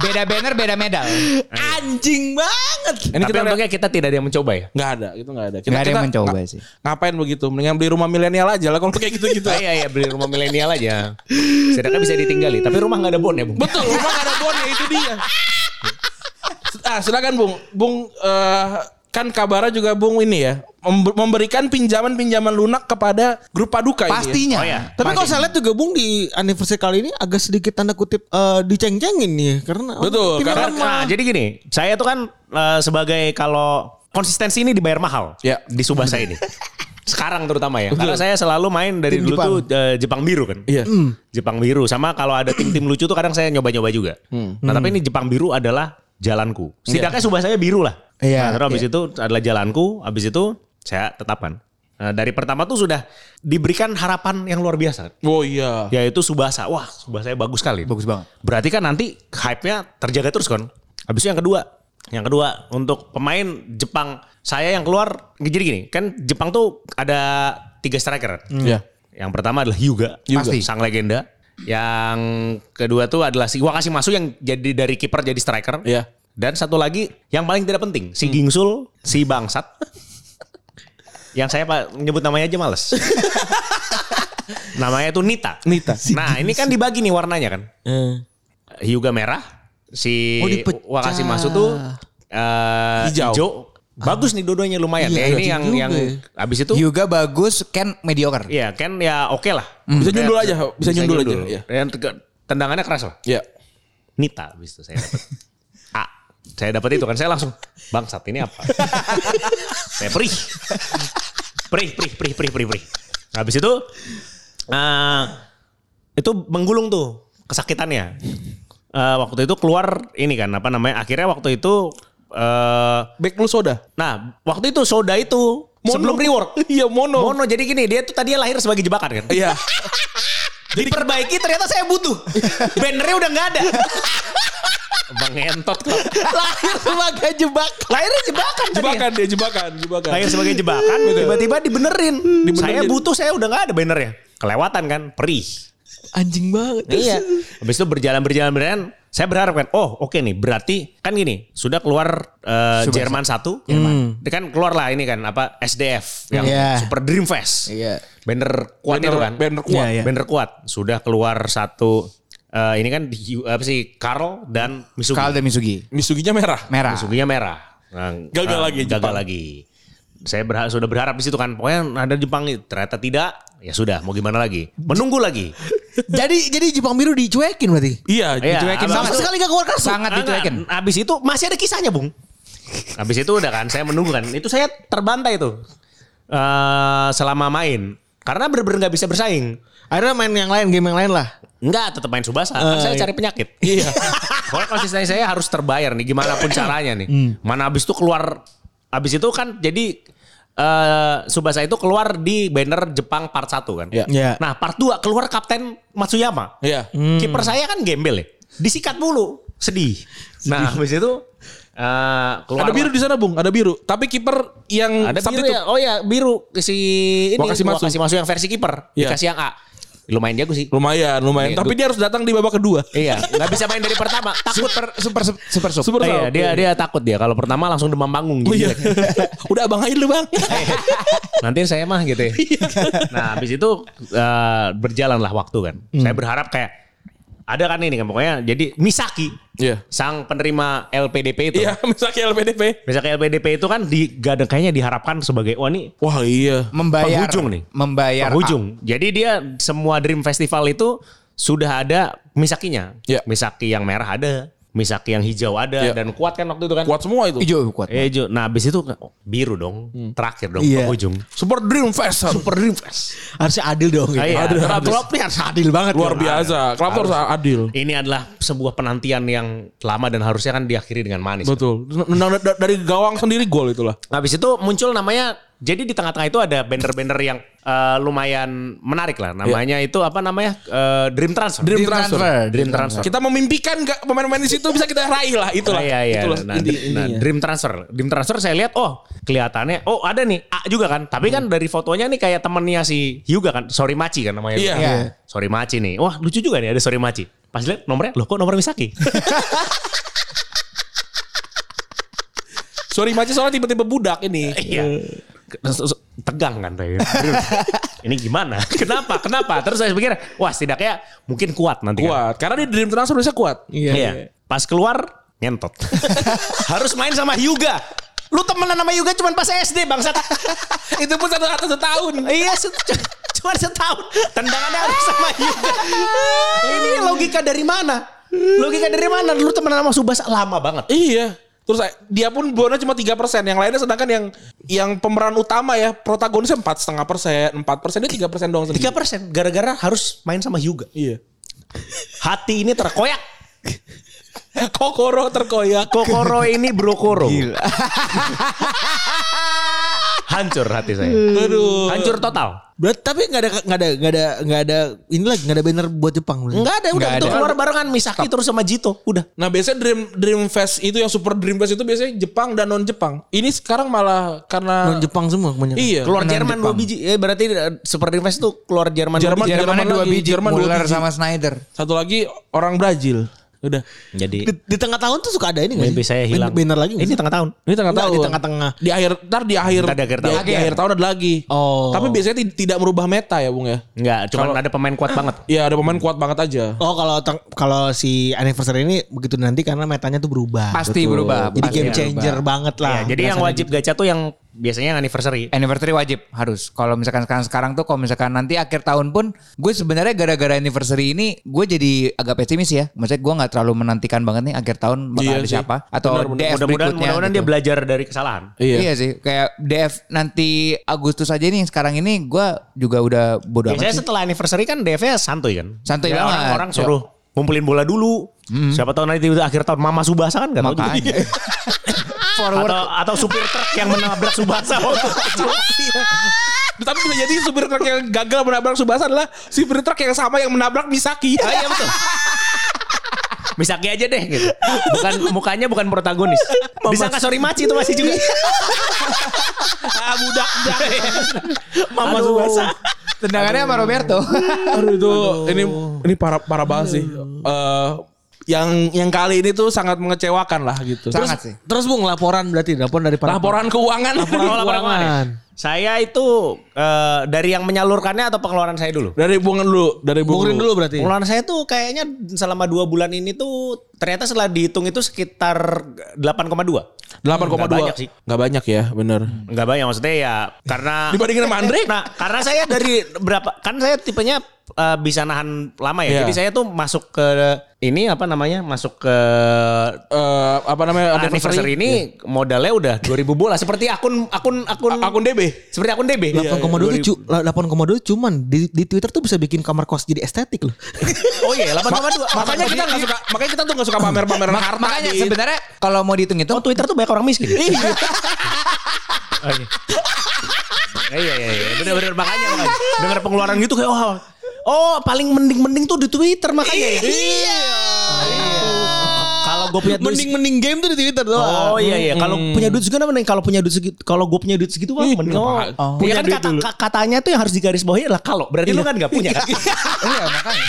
[SPEAKER 1] Beda banner beda medal.
[SPEAKER 4] Anjing banget.
[SPEAKER 3] ini
[SPEAKER 2] Tapi
[SPEAKER 3] kita
[SPEAKER 2] untungnya kita tidak ada yang mencoba ya.
[SPEAKER 3] nggak ada itu nggak ada kita,
[SPEAKER 1] Nggak ada yang
[SPEAKER 3] kita
[SPEAKER 1] mencoba
[SPEAKER 3] nggak-
[SPEAKER 1] sih.
[SPEAKER 3] ngapain begitu mendingan beli rumah milenial aja lah kalau kayak gitu gitu
[SPEAKER 2] Oh, iya iya beli rumah milenial aja. Sedangkan bisa ditinggali. Tapi rumah nggak ada bon ya bung.
[SPEAKER 3] Betul, rumah gak ada bon ya itu dia. Ah, silakan Bung. Bung eh, kan kabarnya juga Bung ini ya mem- memberikan pinjaman-pinjaman lunak kepada grup paduka ini ya.
[SPEAKER 1] Pastinya.
[SPEAKER 2] Oh iya.
[SPEAKER 4] Tapi kalau saya lihat juga Bung di anniversary kali ini agak sedikit tanda kutip eh, diceng-cengin nih karena
[SPEAKER 3] Betul,
[SPEAKER 4] timnya lemah.
[SPEAKER 3] karena-
[SPEAKER 2] Nah, jadi gini, saya tuh kan eh, sebagai kalau konsistensi ini dibayar mahal
[SPEAKER 3] Ya.
[SPEAKER 2] di Subasa ini. Sekarang terutama ya. Karena saya selalu main dari
[SPEAKER 4] Tim
[SPEAKER 2] dulu
[SPEAKER 4] Jepang.
[SPEAKER 2] tuh eh, Jepang Biru kan.
[SPEAKER 3] Iya.
[SPEAKER 2] Jepang Biru sama kalau ada tim-tim lucu tuh kadang saya nyoba-nyoba juga. Nah, tapi ini Jepang Biru adalah jalanku. Setidaknya Subasanya biru lah.
[SPEAKER 1] Iya,
[SPEAKER 2] Nah, terus habis itu adalah jalanku, habis itu saya tetapkan. Nah, dari pertama tuh sudah diberikan harapan yang luar biasa.
[SPEAKER 3] Oh iya.
[SPEAKER 2] Yaitu Subasa. Wah, Subasanya bagus sekali.
[SPEAKER 1] Bagus banget.
[SPEAKER 2] Berarti kan nanti hype-nya terjaga terus kan. Habis itu yang kedua. Yang kedua untuk pemain Jepang. Saya yang keluar. Jadi gini. Kan Jepang tuh ada tiga striker.
[SPEAKER 3] Iya.
[SPEAKER 2] Yang pertama adalah Hyuga.
[SPEAKER 1] Hyuga.
[SPEAKER 2] Pasti. Sang legenda. Yang kedua tuh adalah si Wakashimasu yang jadi dari kiper jadi striker.
[SPEAKER 3] Iya.
[SPEAKER 2] Dan satu lagi yang paling tidak penting.
[SPEAKER 3] Hmm.
[SPEAKER 2] Si Gingsul. Si Bangsat. yang saya pak nyebut namanya aja
[SPEAKER 3] [laughs]
[SPEAKER 2] males. namanya tuh Nita.
[SPEAKER 3] Nita.
[SPEAKER 2] Nah ini kan dibagi nih warnanya kan.
[SPEAKER 4] Eh.
[SPEAKER 2] Hyuga merah, si
[SPEAKER 4] Oh, dipecah.
[SPEAKER 2] Wakasi Masu tuh eh,
[SPEAKER 3] Hijau. Ah.
[SPEAKER 2] hijau. Bagus nih dua-duanya lumayan.
[SPEAKER 4] Iya,
[SPEAKER 2] ya ini
[SPEAKER 4] iya
[SPEAKER 2] yang
[SPEAKER 4] juga
[SPEAKER 2] yang
[SPEAKER 4] ya.
[SPEAKER 2] abis itu
[SPEAKER 1] Juga bagus, Ken
[SPEAKER 3] Iya,
[SPEAKER 1] mediocre.
[SPEAKER 2] ya kan ya oke lah.
[SPEAKER 3] Hmm. Bisa nyundul aja, bisa nyundul aja, iya.
[SPEAKER 2] Dan teg- tendangannya keras lah.
[SPEAKER 3] Iya.
[SPEAKER 2] Nita abis itu saya dapat. A. Saya dapat itu kan saya langsung bangsat ini
[SPEAKER 3] [laughs]
[SPEAKER 2] apa? saya perih. Perih, perih, perih, perih, perih, perih. Habis itu eh itu menggulung tuh kesakitannya. Eh, waktu itu keluar ini kan apa namanya? Akhirnya waktu itu eh
[SPEAKER 3] Back lu soda.
[SPEAKER 2] nah, waktu itu soda itu sebelum rework.
[SPEAKER 3] Iya mono.
[SPEAKER 2] Mono jadi gini, dia tuh tadinya lahir sebagai jebakan kan. [laughs]
[SPEAKER 3] Iya.
[SPEAKER 2] Diperbaiki ternyata saya [laughs] butuh. Bannernya udah nggak ada. Bang entot kok.
[SPEAKER 4] lahir sebagai jebak
[SPEAKER 2] Lahirnya jebakan tadi ya.
[SPEAKER 3] Jebakan dia jebakan, jebakan.
[SPEAKER 2] Lahir sebagai jebakan, tiba-tiba dibenerin. Saya
[SPEAKER 3] Dibenerin.
[SPEAKER 2] butuh, saya udah nggak ada bannernya. Kelewatan kan, perih.
[SPEAKER 4] anjing banget
[SPEAKER 2] Iya. Habis itu berjalan berjalan berjalan. Saya berharap kan, oh oke nih, berarti kan gini, sudah keluar eh, Jerman
[SPEAKER 4] Hmm.
[SPEAKER 2] satu, Jerman. Dia kan keluar lah ini kan apa SDF yang
[SPEAKER 4] Iya.
[SPEAKER 2] Super Dream Fest,
[SPEAKER 4] Iya.
[SPEAKER 2] banner kuat
[SPEAKER 3] Banner-
[SPEAKER 2] itu kan,
[SPEAKER 3] banner kuat.
[SPEAKER 4] Iya, iya.
[SPEAKER 2] banner kuat. Sudah keluar satu, eh, ini kan di- apa sih Karl dan Misugi.
[SPEAKER 1] Kal dan Misugi.
[SPEAKER 3] Misuginya merah.
[SPEAKER 1] Merah.
[SPEAKER 2] Misuginya merah. Nah,
[SPEAKER 3] Gagal
[SPEAKER 2] nah,
[SPEAKER 3] lagi
[SPEAKER 2] Gagal
[SPEAKER 3] Jepang.
[SPEAKER 2] lagi. Saya berha- sudah berharap di situ kan. Pokoknya ada Jepang nih. Ternyata tidak. Ya sudah, mau gimana lagi? Menunggu lagi.
[SPEAKER 4] [laughs] jadi jadi Jepang biru dicuekin berarti
[SPEAKER 3] Iya,
[SPEAKER 2] Iya,
[SPEAKER 3] dicuekin
[SPEAKER 2] abang.
[SPEAKER 3] sama.
[SPEAKER 4] sama sekali gak keluar kartu
[SPEAKER 1] Sangat dicuekin.
[SPEAKER 2] kan, Habis itu masih ada kisahnya, Bung. Habis itu udah kan, saya menunggu kan. Itu saya terbantai tuh. Eh, selama main. Karena bener-bener nggak bisa bersaing.
[SPEAKER 4] akhirnya main yang lain game yang lain lah
[SPEAKER 2] Enggak, tetap main Subasa. Kan saya cari penyakit. Iya. Pokoknya konsistensi saya harus terbayar nih gimana pun caranya nih. Mana abis itu keluar abis itu kan jadi eh Subasa itu keluar di banner Jepang part 1 kan.
[SPEAKER 3] Iya.
[SPEAKER 4] Iya.
[SPEAKER 2] Nah, part 2 keluar Kapten Matsuyama.
[SPEAKER 3] Iya.
[SPEAKER 2] Kiper saya kan gembel ya. Disikat mulu, sedih. Nah, abis itu eh keluar
[SPEAKER 3] Ada biru di sana, Bung. Ada biru. Tapi kiper yang
[SPEAKER 2] ada biru
[SPEAKER 3] substitute.
[SPEAKER 2] ya. Oh ya, biru si ini
[SPEAKER 3] Wakasi Masu.
[SPEAKER 2] Wakasi Masu yang versi kiper,
[SPEAKER 3] Iya.
[SPEAKER 2] dikasih yang A. Lumayan jago sih.
[SPEAKER 3] Lumayan, lumayan.
[SPEAKER 2] Iya,
[SPEAKER 3] Tapi dia harus datang di babak kedua.
[SPEAKER 2] iya, nggak bisa main dari pertama. Takut
[SPEAKER 1] Super super super super.
[SPEAKER 3] Super
[SPEAKER 2] Oh, iya,
[SPEAKER 3] sub.
[SPEAKER 2] dia dia takut dia kalau pertama langsung demam panggung
[SPEAKER 3] Oh
[SPEAKER 2] gitu.
[SPEAKER 3] iya. [laughs] Udah abang aja lu, Bang.
[SPEAKER 2] Nanti saya mah gitu ya. nah, habis itu eh, berjalanlah waktu kan. Saya berharap kayak ada kan ini kan pokoknya jadi Misaki
[SPEAKER 3] Iya.
[SPEAKER 2] sang penerima LPDP itu.
[SPEAKER 3] Iya, [laughs] misalnya LPDP.
[SPEAKER 2] Misaki LPDP itu kan digadang kayaknya diharapkan sebagai wah nih
[SPEAKER 3] Wah, iya.
[SPEAKER 1] Membayar.
[SPEAKER 2] Penghujung nih.
[SPEAKER 1] Membayar.
[SPEAKER 2] penghujung.
[SPEAKER 3] ah.
[SPEAKER 2] Jadi dia semua Dream Festival itu sudah ada Misakinya.
[SPEAKER 3] Iya.
[SPEAKER 2] Misaki yang merah ada, Misaki yang hijau ada
[SPEAKER 3] Iya.
[SPEAKER 2] dan kuat kan waktu itu kan.
[SPEAKER 3] Kuat semua
[SPEAKER 1] Ah,
[SPEAKER 3] itu.
[SPEAKER 1] Hijau kuat.
[SPEAKER 2] Eh, Jo. Nah, habis itu oh, biru dong.
[SPEAKER 3] Hmm.
[SPEAKER 2] Terakhir dong,
[SPEAKER 4] Iya.
[SPEAKER 2] penghujung.
[SPEAKER 3] Super Dream Fest. Super Dream Fest.
[SPEAKER 4] harusnya adil dong
[SPEAKER 2] Ah,
[SPEAKER 4] gitu.
[SPEAKER 2] iya.
[SPEAKER 4] Adil. Klopp nih harus adil banget
[SPEAKER 3] Luar
[SPEAKER 4] dong.
[SPEAKER 3] biasa. Klub harus adil.
[SPEAKER 2] Ini adalah sebuah penantian yang lama dan harusnya kan diakhiri dengan manis.
[SPEAKER 3] Betul. Nah, da- da- dari gawang sendiri gol itulah.
[SPEAKER 2] Nah, habis itu muncul namanya jadi di tengah-tengah itu ada banner-banner yang eh, lumayan menarik lah. Namanya itu apa namanya? Eh, Dream Transfer.
[SPEAKER 3] Dream transfer.
[SPEAKER 2] Dream Transfer.
[SPEAKER 3] Kita memimpikan nggak pemain-pemain di situ bisa kita raih lah itulah.
[SPEAKER 2] Ah, iya, iya.
[SPEAKER 3] Itulah
[SPEAKER 2] Nah,
[SPEAKER 3] inti-
[SPEAKER 2] dr- nah,
[SPEAKER 3] intinya.
[SPEAKER 2] Dream Transfer. Dream Transfer saya lihat oh, kelihatannya oh ada nih A juga kan. Tapi kan dari fotonya nih kayak temennya si Hyuga kan, Sorry Machi kan namanya.
[SPEAKER 3] Iya.
[SPEAKER 1] Iya.
[SPEAKER 2] Sorry Maci nih. Wah lucu juga nih ada Sorry Maci. Pas lihat nomornya, loh kok nomor Misaki?
[SPEAKER 3] Sorry Maci soalnya tiba-tiba budak ini.
[SPEAKER 2] Iya. Tegang kan [laughs] saya. Ini gimana? Kenapa? Kenapa? Terus saya pikir, wah setidaknya mungkin kuat nanti kan.
[SPEAKER 3] Kuat. Karena dia dream transfer bisa kuat.
[SPEAKER 2] Iya. Pas keluar, nyentot. Harus main sama Hyuga. Lu temenan sama Hyuga cuman pas SD bangsat.
[SPEAKER 3] [laughs] Itu pun satu satu tahun.
[SPEAKER 2] iya, se- cu- cuman setahun. Tendangannya harus sama
[SPEAKER 3] [laughs]
[SPEAKER 2] Hyuga. Ini logika dari mana? [laughs] Logika dari mana? Lu temenan sama Subasa lama banget.
[SPEAKER 3] Iya. Terus saya- dia pun bonusnya cuma 3%. Yang lainnya sedangkan yang yang pemeran utama ya, protagonisnya 4,5%, 4%, dia 3% doang sendiri.
[SPEAKER 2] 3% gara-gara harus main sama Hyuga.
[SPEAKER 3] Iya.
[SPEAKER 2] Hati ini terkoyak.
[SPEAKER 3] Eh, Kokoro terkoyak.
[SPEAKER 2] Kokoro ini brokoro. [laughs] Hancur hati saya.
[SPEAKER 3] Aduh.
[SPEAKER 2] Hancur total.
[SPEAKER 4] Berarti tapi nggak ada nggak ada nggak ada nggak ada ini lagi nggak ada banner buat Jepang.
[SPEAKER 2] Enggak ada udah itu keluar barengan Misaki terus sama Jito. Udah.
[SPEAKER 3] Nah biasanya Dream Dream Fest itu yang Super Dream Fest itu biasanya Jepang dan non Jepang. Ini sekarang malah
[SPEAKER 4] Non
[SPEAKER 3] karena
[SPEAKER 4] Jepang semua kebanyakan.
[SPEAKER 3] Iya.
[SPEAKER 2] Keluar Jerman dua biji. Eh berarti eh, Super Dream Fest tuh keluar Jerman, dua
[SPEAKER 3] Jerman-
[SPEAKER 2] biji.
[SPEAKER 1] Jerman dua
[SPEAKER 3] lagi,
[SPEAKER 1] biji.
[SPEAKER 3] Jerman dua
[SPEAKER 1] Muller
[SPEAKER 3] biji.
[SPEAKER 1] sama Snyder.
[SPEAKER 3] Satu lagi orang Brazil. Udah.
[SPEAKER 2] Jadi
[SPEAKER 4] Di, di tengah tahun tuh suka ada ini nggak
[SPEAKER 2] mimpi
[SPEAKER 4] sih?
[SPEAKER 2] saya
[SPEAKER 4] Banner-
[SPEAKER 2] hilang.
[SPEAKER 4] Banner lagi nggak
[SPEAKER 2] Ini
[SPEAKER 4] sih?
[SPEAKER 2] tengah tahun.
[SPEAKER 3] Ini tengah
[SPEAKER 4] Enggak,
[SPEAKER 3] tahun.
[SPEAKER 4] di tengah-tengah.
[SPEAKER 3] Di akhir ntar di akhir
[SPEAKER 2] Ntar di akhir tahun.
[SPEAKER 3] di akhir tahun ada lagi.
[SPEAKER 4] Oh.
[SPEAKER 3] Tapi biasanya tid- tidak merubah meta ya, Bung ya.
[SPEAKER 2] Enggak, cuman ada pemain kuat banget.
[SPEAKER 3] Iya, ada pemain kuat banget aja.
[SPEAKER 4] Oh kalau teng- kalau si anniversary ini begitu nanti karena metanya tuh berubah.
[SPEAKER 1] Pasti berubah.
[SPEAKER 4] Jadi
[SPEAKER 1] Pasti
[SPEAKER 4] game
[SPEAKER 1] berubah.
[SPEAKER 2] Iya,
[SPEAKER 4] changer banget lah.
[SPEAKER 1] gitu.
[SPEAKER 2] Ya, jadi yang wajib gacha tuh yang biasanya yang anniversary.
[SPEAKER 1] Anniversary wajib harus. Kalau misalkan sekarang sekarang tuh, kalau misalkan nanti akhir tahun pun, gue sebenarnya gara-gara anniversary ini, gue jadi agak pesimis ya. Maksudnya gue nggak terlalu menantikan banget nih akhir tahun bakal
[SPEAKER 3] Iya
[SPEAKER 1] ada
[SPEAKER 3] sih.
[SPEAKER 1] siapa atau
[SPEAKER 3] Benar, benar.
[SPEAKER 1] DF
[SPEAKER 2] Mudah-mudahan
[SPEAKER 1] berikutnya.
[SPEAKER 2] mudah-mudahan dia
[SPEAKER 1] gitu.
[SPEAKER 2] belajar dari kesalahan.
[SPEAKER 3] Iya.
[SPEAKER 1] Iya. sih, kayak DF nanti Agustus aja nih sekarang ini gue juga udah bodo amat
[SPEAKER 2] Biasanya
[SPEAKER 1] sih.
[SPEAKER 2] setelah anniversary kan DF-nya santuy kan.
[SPEAKER 1] Santuy banget.
[SPEAKER 2] Ya,
[SPEAKER 1] Hmm.
[SPEAKER 2] Orang-orang suruh ngumpulin bola dulu. Siapa tahu nanti akhir tahun Mama Subasa kan gak tahu juga.
[SPEAKER 1] Makanya. [laughs] Forward.
[SPEAKER 2] [laughs] Atau, atau supir truk yang menabrak Subasa waktu kecil.
[SPEAKER 3] Tapi bisa jadi supir truk yang gagal menabrak Subasa adalah supir truk yang sama yang menabrak Misaki.
[SPEAKER 2] Ah, iya betul. Misaki aja deh gitu. Bukan mukanya bukan
[SPEAKER 1] [laughs]
[SPEAKER 2] protagonis. Disangka Sorimachi itu masih juga. ah budak [laughs] Mama
[SPEAKER 1] Aduh.
[SPEAKER 2] Subasa.
[SPEAKER 1] Tendangannya sama Roberto.
[SPEAKER 3] Aduh itu ini ini parah parah banget sih. Eh, yang yang kali ini tuh sangat mengecewakan lah gitu.
[SPEAKER 1] Sangat sih.
[SPEAKER 4] Terus Bung laporan Kan berarti laporan dari para
[SPEAKER 3] Laporan keuangan.
[SPEAKER 2] Laporan
[SPEAKER 3] Dari
[SPEAKER 2] laporan
[SPEAKER 3] keuangan.
[SPEAKER 2] keuangan. Saya itu eh, dari yang menyalurkannya atau pengeluaran saya dulu?
[SPEAKER 3] Dari bungan dulu, dari
[SPEAKER 4] Bung Rin dulu berarti.
[SPEAKER 2] Pengeluaran saya tuh kayaknya selama dua bulan ini tuh ternyata setelah dihitung itu sekitar 8,2.
[SPEAKER 3] 8,2.
[SPEAKER 2] Nggak banyak sih.
[SPEAKER 3] Nggak banyak ya, bener.
[SPEAKER 2] Enggak banyak maksudnya ya karena
[SPEAKER 3] [laughs] Dibandingin sama Andre?
[SPEAKER 2] Nah, karena saya dari berapa kan saya tipenya eh, bisa nahan lama ya.
[SPEAKER 3] Iya.
[SPEAKER 2] Jadi saya tuh masuk ke ini apa namanya? Masuk ke
[SPEAKER 3] Eh, apa namanya
[SPEAKER 2] anniversary ini modalnya udah 2000 bola seperti akun akun akun
[SPEAKER 3] Iya. A- akun DB.
[SPEAKER 2] seperti akun DB.
[SPEAKER 4] 8,2 cu- 8,2 cuman di, di Twitter tuh bisa bikin kamar kos jadi estetik
[SPEAKER 2] [laughs]
[SPEAKER 4] loh.
[SPEAKER 2] Oh iya, 8,2.
[SPEAKER 3] Makanya kita nggak suka, makanya kita tuh nggak suka pamer-pameran
[SPEAKER 1] Mak- [laughs]
[SPEAKER 3] harta. gitu.
[SPEAKER 1] makanya
[SPEAKER 3] Dit.
[SPEAKER 1] sebenarnya kalau mau dihitung itu
[SPEAKER 2] Oh, Twitter tuh banyak orang miskin. Iya. Iya iya iya benar-benar makanya [laughs] makanya. dengar pengeluaran gitu kayak oh oh paling mending-mending tuh di Twitter makanya. Iya. Kalau gue punya duit
[SPEAKER 4] Mending-mending game tuh di Twitter
[SPEAKER 2] Oh
[SPEAKER 4] doang.
[SPEAKER 2] iya iya kalau punya duit segitu apa nih? Kalau punya duit segitu kalau gue punya duit segitu
[SPEAKER 4] Hmm.
[SPEAKER 3] Ih,
[SPEAKER 2] mah mending.
[SPEAKER 3] kenapa?
[SPEAKER 2] Oh. Iya kan kata, ka- katanya tuh yang harus digarisbawahi adalah kalau. Berarti lu kan nggak [laughs] punya kan?
[SPEAKER 1] iya makanya.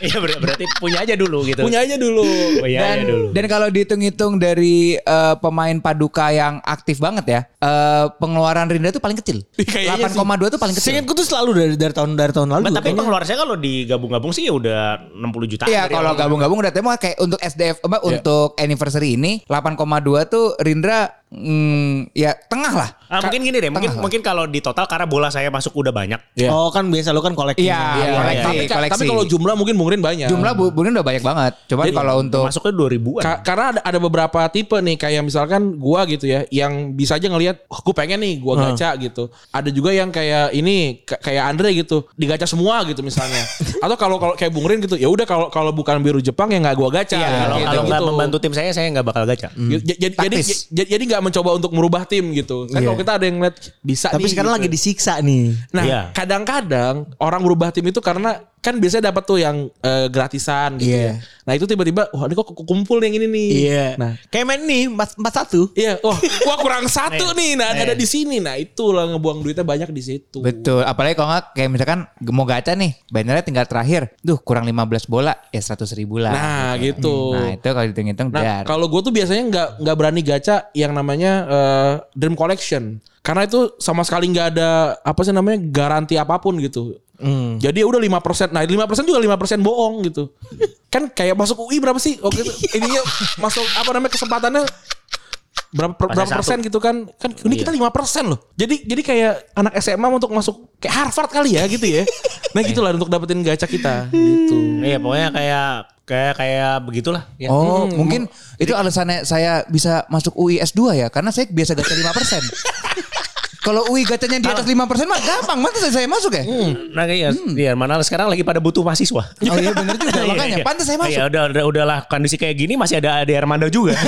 [SPEAKER 2] Iya ber- berarti punya aja dulu gitu.
[SPEAKER 3] Punya aja dulu.
[SPEAKER 2] Punya
[SPEAKER 1] dan
[SPEAKER 2] aja dulu.
[SPEAKER 1] dan kalau dihitung-hitung dari eh, pemain paduka yang aktif banget ya, eh, pengeluaran Rinda tuh paling [laughs] kecil.
[SPEAKER 3] Kayaknya
[SPEAKER 1] 8,2 tuh paling kecil.
[SPEAKER 4] Seingatku tuh selalu dari dari tahun dari tahun lalu.
[SPEAKER 2] Bah, Nah, tapi
[SPEAKER 4] kayaknya.
[SPEAKER 2] pengeluaran saya kalau digabung-gabung sih ya udah 60 juta.
[SPEAKER 1] Iya kalau gabung-gabung udah temu kayak untuk SDF apa, untuk anniversary ini 8,2 tuh Rindra mm, ya tengah lah.
[SPEAKER 2] Ah, mungkin gini deh, mungkin
[SPEAKER 1] Tengah lah.
[SPEAKER 2] mungkin kalau di total karena bola saya masuk udah banyak.
[SPEAKER 3] Iya.
[SPEAKER 4] Oh kan biasa lu kan kolektif.
[SPEAKER 1] Iya, koleksi,
[SPEAKER 3] Tapi, ca-
[SPEAKER 1] koleksi.
[SPEAKER 3] tapi kalau jumlah mungkin Bung Rin banyak.
[SPEAKER 1] jumlah bu, Bun udah banyak banget. Cuman kalau untuk
[SPEAKER 2] Masuknya 2000-an.
[SPEAKER 3] Ka- karena ada, ada beberapa tipe nih kayak misalkan gua gitu ya yang bisa aja ngelihat oh, gua pengen nih gua gacha gitu ada juga yang kayak ini ka- kayak Andre gitu digacha semua gitu misalnya atau kalau kalau kayak Bung Rin gitu ya udah kalau kalau bukan biru Jepang ya nggak gua gacha
[SPEAKER 1] Iya,
[SPEAKER 3] Ya,
[SPEAKER 2] kalau
[SPEAKER 3] gitu,
[SPEAKER 2] kalau nggak
[SPEAKER 3] gitu.
[SPEAKER 2] membantu tim saya, saya nggak bakal gacha.
[SPEAKER 3] Gitu. J- jadi jadi
[SPEAKER 1] Taktis.
[SPEAKER 3] j- jadi nggak mencoba untuk merubah tim gitu kan kalau kita ada yang ngeliat bisa
[SPEAKER 4] Tapi
[SPEAKER 3] nih,
[SPEAKER 4] sekarang
[SPEAKER 3] gitu.
[SPEAKER 4] lagi disiksa nih.
[SPEAKER 3] Nah,
[SPEAKER 2] Iya.
[SPEAKER 3] kadang-kadang orang berubah tim itu karena kan biasanya dapat tuh yang eh, gratisan gitu
[SPEAKER 4] Iya.
[SPEAKER 3] ya. Nah, itu tiba-tiba wah ini kok ke- kumpul yang ini nih.
[SPEAKER 2] Iya.
[SPEAKER 3] Nah,
[SPEAKER 4] Kayak main nih 41.
[SPEAKER 3] iya, wah, wah kurang satu nih. Nah,
[SPEAKER 2] Nih.
[SPEAKER 3] ada di sini. Nah, itulah ngebuang duitnya banyak di situ.
[SPEAKER 1] Betul, apalagi kalau nggak kayak misalkan mau gacha nih, bannernya tinggal terakhir. Duh, kurang 15 bola, ya 100 ribu lah.
[SPEAKER 3] Nah, gitu.
[SPEAKER 1] Nah, itu kalau dihitung-hitung
[SPEAKER 3] Nah,
[SPEAKER 1] biar.
[SPEAKER 3] kalau gue tuh biasanya nggak nggak berani gacha yang namanya eh, Dream Collection karena itu sama sekali nggak ada apa sih namanya garansi apapun gitu.
[SPEAKER 2] Hmm.
[SPEAKER 3] Jadi ya udah 5%. Nah, 5% juga 5% bohong gitu. kan kayak masuk UI berapa sih? Oke,
[SPEAKER 2] [laughs]
[SPEAKER 3] ininya masuk apa namanya kesempatannya berapa per-
[SPEAKER 2] Pasnya satu.
[SPEAKER 3] berapa
[SPEAKER 2] Iya.
[SPEAKER 3] persen gitu kan kan ini kita lima persen loh jadi jadi kayak anak SMA untuk masuk kayak Harvard kali ya gitu ya
[SPEAKER 2] [laughs]
[SPEAKER 3] nah gitulah untuk dapetin gacha kita gitu
[SPEAKER 2] Iya, pokoknya kayak kayak kayak begitulah. Ya.
[SPEAKER 1] Oh,
[SPEAKER 3] hmm.
[SPEAKER 1] mungkin itu alasannya saya bisa masuk UI S2 ya, karena saya biasa gacha
[SPEAKER 3] [laughs]
[SPEAKER 1] 5%. kalau UI gacanya di atas 5% mah gampang, masa saya, saya masuk ya?
[SPEAKER 3] Hmm.
[SPEAKER 2] Nah, iya, iya, mana sekarang lagi pada butuh mahasiswa.
[SPEAKER 1] Oh iya bener
[SPEAKER 2] [laughs]
[SPEAKER 1] juga, makanya pantas saya masuk.
[SPEAKER 2] Ya udah, udah udahlah kondisi kayak gini masih ada ada Armando juga.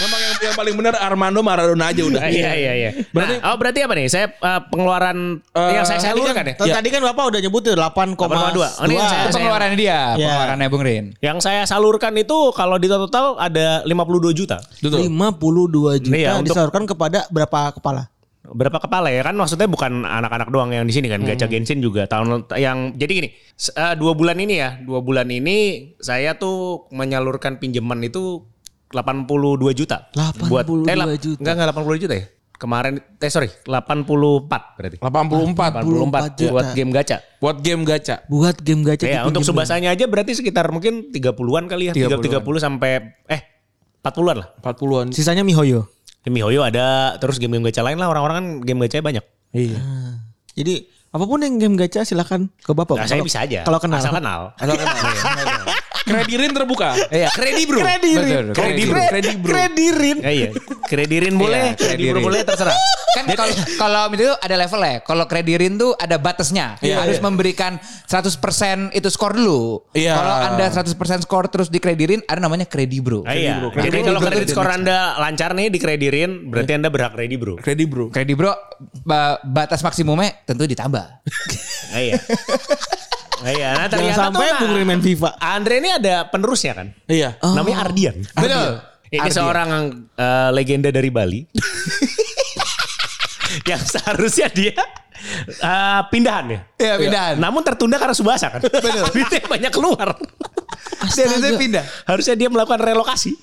[SPEAKER 3] Memang yang, yang paling benar Armando Maradona aja udah.
[SPEAKER 2] Nah, iya iya iya. Berarti
[SPEAKER 3] Berarti-
[SPEAKER 2] oh berarti apa nih? Saya eh, pengeluaran
[SPEAKER 3] Eh,
[SPEAKER 2] yang saya saya lurukan ya.
[SPEAKER 4] Tadi tadi kan Bapak udah nyebutin
[SPEAKER 2] 8,2.
[SPEAKER 4] 8,2.
[SPEAKER 2] Oh, ini yang saya-
[SPEAKER 1] Itu pengeluarannya dia,
[SPEAKER 4] Iya.
[SPEAKER 1] pengeluarannya Bung Rin.
[SPEAKER 2] Yang saya salurkan itu kalau di total ada 52 juta.
[SPEAKER 4] 52 juta
[SPEAKER 2] Iya, untuk-
[SPEAKER 4] disalurkan kepada berapa kepala?
[SPEAKER 2] Berapa kepala ya kan maksudnya bukan anak-anak doang yang di sini kan gacha Genshin juga tahun yang jadi gini s- eh, dua bulan ini ya dua bulan ini saya tuh menyalurkan pinjaman itu 82 juta eh,
[SPEAKER 4] 82
[SPEAKER 2] lap-
[SPEAKER 4] juta.
[SPEAKER 2] enggak enggak 80 juta ya kemarin eh sorry 84 berarti
[SPEAKER 3] 84
[SPEAKER 2] 84
[SPEAKER 4] juta.
[SPEAKER 2] buat game gacha
[SPEAKER 3] buat game gacha.
[SPEAKER 4] Buat game gacha
[SPEAKER 2] Ya, untuk subasanya aja berarti sekitar mungkin 30-an kali ya. 30 30 sampai eh 40-an lah.
[SPEAKER 3] 40-an.
[SPEAKER 4] Sisanya mihoyo.
[SPEAKER 2] Game Mihoyo ada, terus game-game gacha lain lah. Orang-orang kan game gacha banyak.
[SPEAKER 3] Iya.
[SPEAKER 4] Ah. Jadi apapun yang game gacha silakan ke bapak.
[SPEAKER 2] Nah, saya
[SPEAKER 4] Oh, Kalau-
[SPEAKER 2] bisa aja.
[SPEAKER 4] Kalau kenal.
[SPEAKER 2] Asal kenal.
[SPEAKER 4] Asal kenal.
[SPEAKER 3] Kredirin terbuka.
[SPEAKER 1] Iya, kredi bro.
[SPEAKER 6] Kredirin.
[SPEAKER 1] Betul, kredi bro.
[SPEAKER 3] Kredi bro.
[SPEAKER 4] Kredirin.
[SPEAKER 2] Ya, iya. Kredirin boleh,
[SPEAKER 1] Iya, kredirin.
[SPEAKER 2] kredirin boleh terserah.
[SPEAKER 1] Kan kalau kalau itu ada level ya. Kalau kredirin tuh ada batasnya. Harus memberikan 100% itu skor dulu.
[SPEAKER 3] Iya.
[SPEAKER 1] Kalau Anda 100% skor terus dikredirin ada namanya kredi bro.
[SPEAKER 2] Ah, iya. Jadi
[SPEAKER 1] Kredi
[SPEAKER 2] kalau
[SPEAKER 1] bro
[SPEAKER 2] kredit
[SPEAKER 1] itu
[SPEAKER 2] skor
[SPEAKER 1] next.
[SPEAKER 2] Anda lancar nih dikredirin, berarti Anda berhak kredi, Bro.
[SPEAKER 3] Kredi bro.
[SPEAKER 1] Kredi bro ba- batas maksimumnya tentu
[SPEAKER 4] [laughs]
[SPEAKER 1] ditambah.
[SPEAKER 2] Ah, iya. Ah, iya. Nah,
[SPEAKER 4] Jangan
[SPEAKER 2] ternyata
[SPEAKER 4] sampai
[SPEAKER 2] tuh, nah,
[SPEAKER 4] Bung Rin main FIFA.
[SPEAKER 2] Andre ini ada penerusnya kan?
[SPEAKER 3] Iya.
[SPEAKER 2] Namanya Ardian.
[SPEAKER 1] Betul.
[SPEAKER 2] Ini seorang eh, legenda dari Bali. [laughs] yang seharusnya dia eh, pindahan ya.
[SPEAKER 1] Iya, pindahan.
[SPEAKER 2] Namun tertunda karena Subasa kan. [laughs] Benar. Duitnya banyak keluar.
[SPEAKER 1] Dia pindah.
[SPEAKER 2] Harusnya dia melakukan relokasi.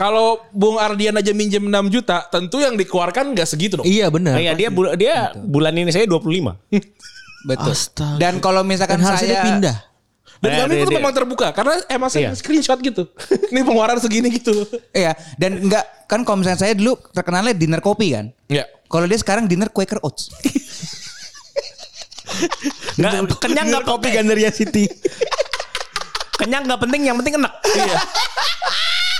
[SPEAKER 3] Kalau Bung Ardian aja minjem 6 juta, tentu yang dikeluarkan nggak segitu dong.
[SPEAKER 4] Iya benar.
[SPEAKER 2] Nah, iya, dia bul- dia bulan ini saya 25.
[SPEAKER 1] Betul.
[SPEAKER 4] Astaga.
[SPEAKER 1] Dan kalau misalkan
[SPEAKER 4] Dan harusnya
[SPEAKER 1] saya
[SPEAKER 4] dia pindah.
[SPEAKER 3] Dan
[SPEAKER 2] Nah,
[SPEAKER 3] kami
[SPEAKER 2] dia-
[SPEAKER 3] itu
[SPEAKER 2] dia-
[SPEAKER 3] memang terbuka karena emang saya
[SPEAKER 2] Iya.
[SPEAKER 3] screenshot gitu. [laughs] Ini pengeluaran segini gitu.
[SPEAKER 1] Iya, dan enggak kan kalau misalnya saya dulu terkenalnya dinner kopi kan.
[SPEAKER 3] Iya.
[SPEAKER 1] Kalau dia sekarang dinner Quaker Oats.
[SPEAKER 2] Nggak, kenyang
[SPEAKER 3] [laughs]
[SPEAKER 2] nggak
[SPEAKER 4] kopi Gandaria City.
[SPEAKER 2] kenyang nggak penting yang penting enak iya.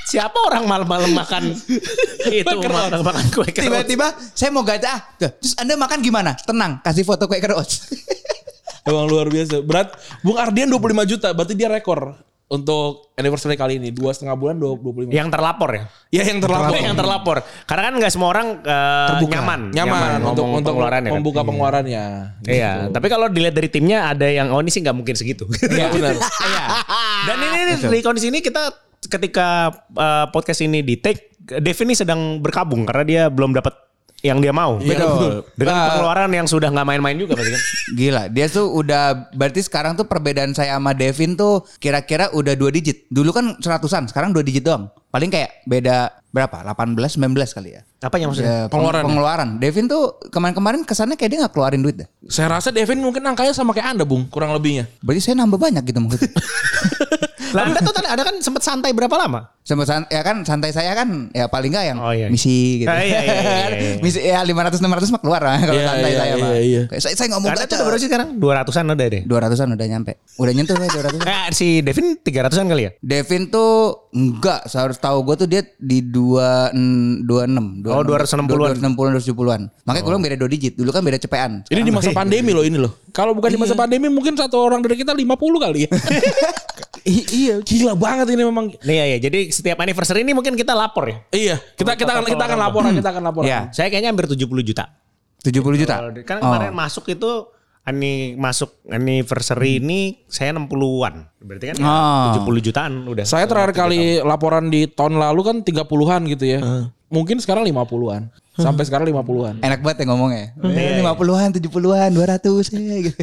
[SPEAKER 2] siapa orang malam-malam makan [laughs] itu malam makan kue kerak.
[SPEAKER 1] Tiba-tiba saya mau gacha. ah. Tuh, Terus Anda makan gimana? Tenang, kasih foto Quaker Oats. [laughs]
[SPEAKER 3] Emang luar biasa. Berat. Bung Ardian 25 juta, berarti dia rekor untuk anniversary kali ini. Dua setengah bulan, dua- 25.
[SPEAKER 2] yang terlapor ya
[SPEAKER 3] Ya Iya. yang terlapor.
[SPEAKER 2] yang terlapor karena kan nggak semua orang eh, nyaman
[SPEAKER 3] Nyaman, ya, untuk
[SPEAKER 2] ngomong
[SPEAKER 3] untuk
[SPEAKER 2] pengeluarannya kan.
[SPEAKER 3] membuka Gitu. pengeluarannya.
[SPEAKER 2] Iya, tapi kalau dilihat dari timnya ada yang oh ini sih nggak mungkin segitu.
[SPEAKER 3] Iya benar.
[SPEAKER 2] Iya. [laughs] Dan ini ini di kondisi ini kita ketika eh, podcast ini di take, Dev ini sedang berkabung karena dia belum dapat yang dia mau.
[SPEAKER 3] Iya.
[SPEAKER 1] betul.
[SPEAKER 2] Dengan
[SPEAKER 1] Nah.
[SPEAKER 2] pengeluaran yang sudah nggak main-main juga
[SPEAKER 3] [laughs]
[SPEAKER 2] pasti kan.
[SPEAKER 1] Gila, dia tuh udah berarti sekarang tuh perbedaan saya sama Devin tuh kira-kira udah dua digit. Dulu kan seratusan, sekarang dua digit doang. Paling kayak beda berapa? 18, 19 kali ya.
[SPEAKER 2] Apanya maksudnya?
[SPEAKER 1] Ya, peng-
[SPEAKER 3] Pengeluaran.
[SPEAKER 1] pengeluaran. Devin tuh kemarin-kemarin kesannya kayak dia gak keluarin duit dah.
[SPEAKER 3] Saya rasa Devin mungkin angkanya sama kayak Anda, Bung, kurang lebihnya.
[SPEAKER 1] Berarti saya nambah banyak gitu
[SPEAKER 2] [laughs]
[SPEAKER 1] maksudnya.
[SPEAKER 2] Lah Anda tuh tadi ada kan sempat santai berapa lama?
[SPEAKER 1] Sama san- ya kan santai saya kan ya paling nggak yang
[SPEAKER 2] Oh, iya.
[SPEAKER 1] misi gitu.
[SPEAKER 2] Ah, iya, iya, iya, iya.
[SPEAKER 1] [laughs] misi ya 500 600 mah keluar lah [laughs] kalau
[SPEAKER 3] Iya,
[SPEAKER 1] santai
[SPEAKER 3] iya,
[SPEAKER 1] saya mah.
[SPEAKER 3] iya, iya.
[SPEAKER 1] Kayak Saya saya nggak mau
[SPEAKER 2] Anda tuh udah berapa
[SPEAKER 1] baca.
[SPEAKER 2] sih sekarang? 200-an udah
[SPEAKER 3] [laughs]
[SPEAKER 2] deh.
[SPEAKER 1] 200-an udah nyampe. Udah nyentuh saya 200-an.
[SPEAKER 2] Eh, si Devin 300-an kali ya?
[SPEAKER 1] Devin tuh enggak, seharus tahu gue tuh dia di 2 26, 26
[SPEAKER 2] Oh, 260-an.
[SPEAKER 1] 260-an 270-an. Makanya gue bilang beda 2 digit. Dulu kan beda cepean.
[SPEAKER 2] Iya.
[SPEAKER 3] Ini di masa pandemi loh ini loh. Iya. Kalau bukan di masa pandemi mungkin satu orang dari kita 50 kali ya. [laughs] I- iya, gila banget ini memang.
[SPEAKER 2] Nih ya, ya. Jadi setiap anniversary ini mungkin kita lapor ya.
[SPEAKER 3] Iya, kita kita akan kita akan laporan, kita akan laporan.
[SPEAKER 1] Iya.
[SPEAKER 2] Saya kayaknya hampir 70 juta.
[SPEAKER 1] 70 juta. Oh.
[SPEAKER 2] Kalau di- Kan kemarin masuk itu ani masuk anniversary ini saya 60-an. Berarti kan ya
[SPEAKER 1] Ah.
[SPEAKER 2] 70 jutaan udah.
[SPEAKER 3] Saya terakhir kali laporan di tahun lalu kan 30-an gitu ya. Mungkin sekarang 50-an. Sampai sekarang 50-an.
[SPEAKER 1] Enak banget ya ngomongnya. Eh,
[SPEAKER 2] Iya,
[SPEAKER 1] 50-an, 70-an, 200 ya gitu.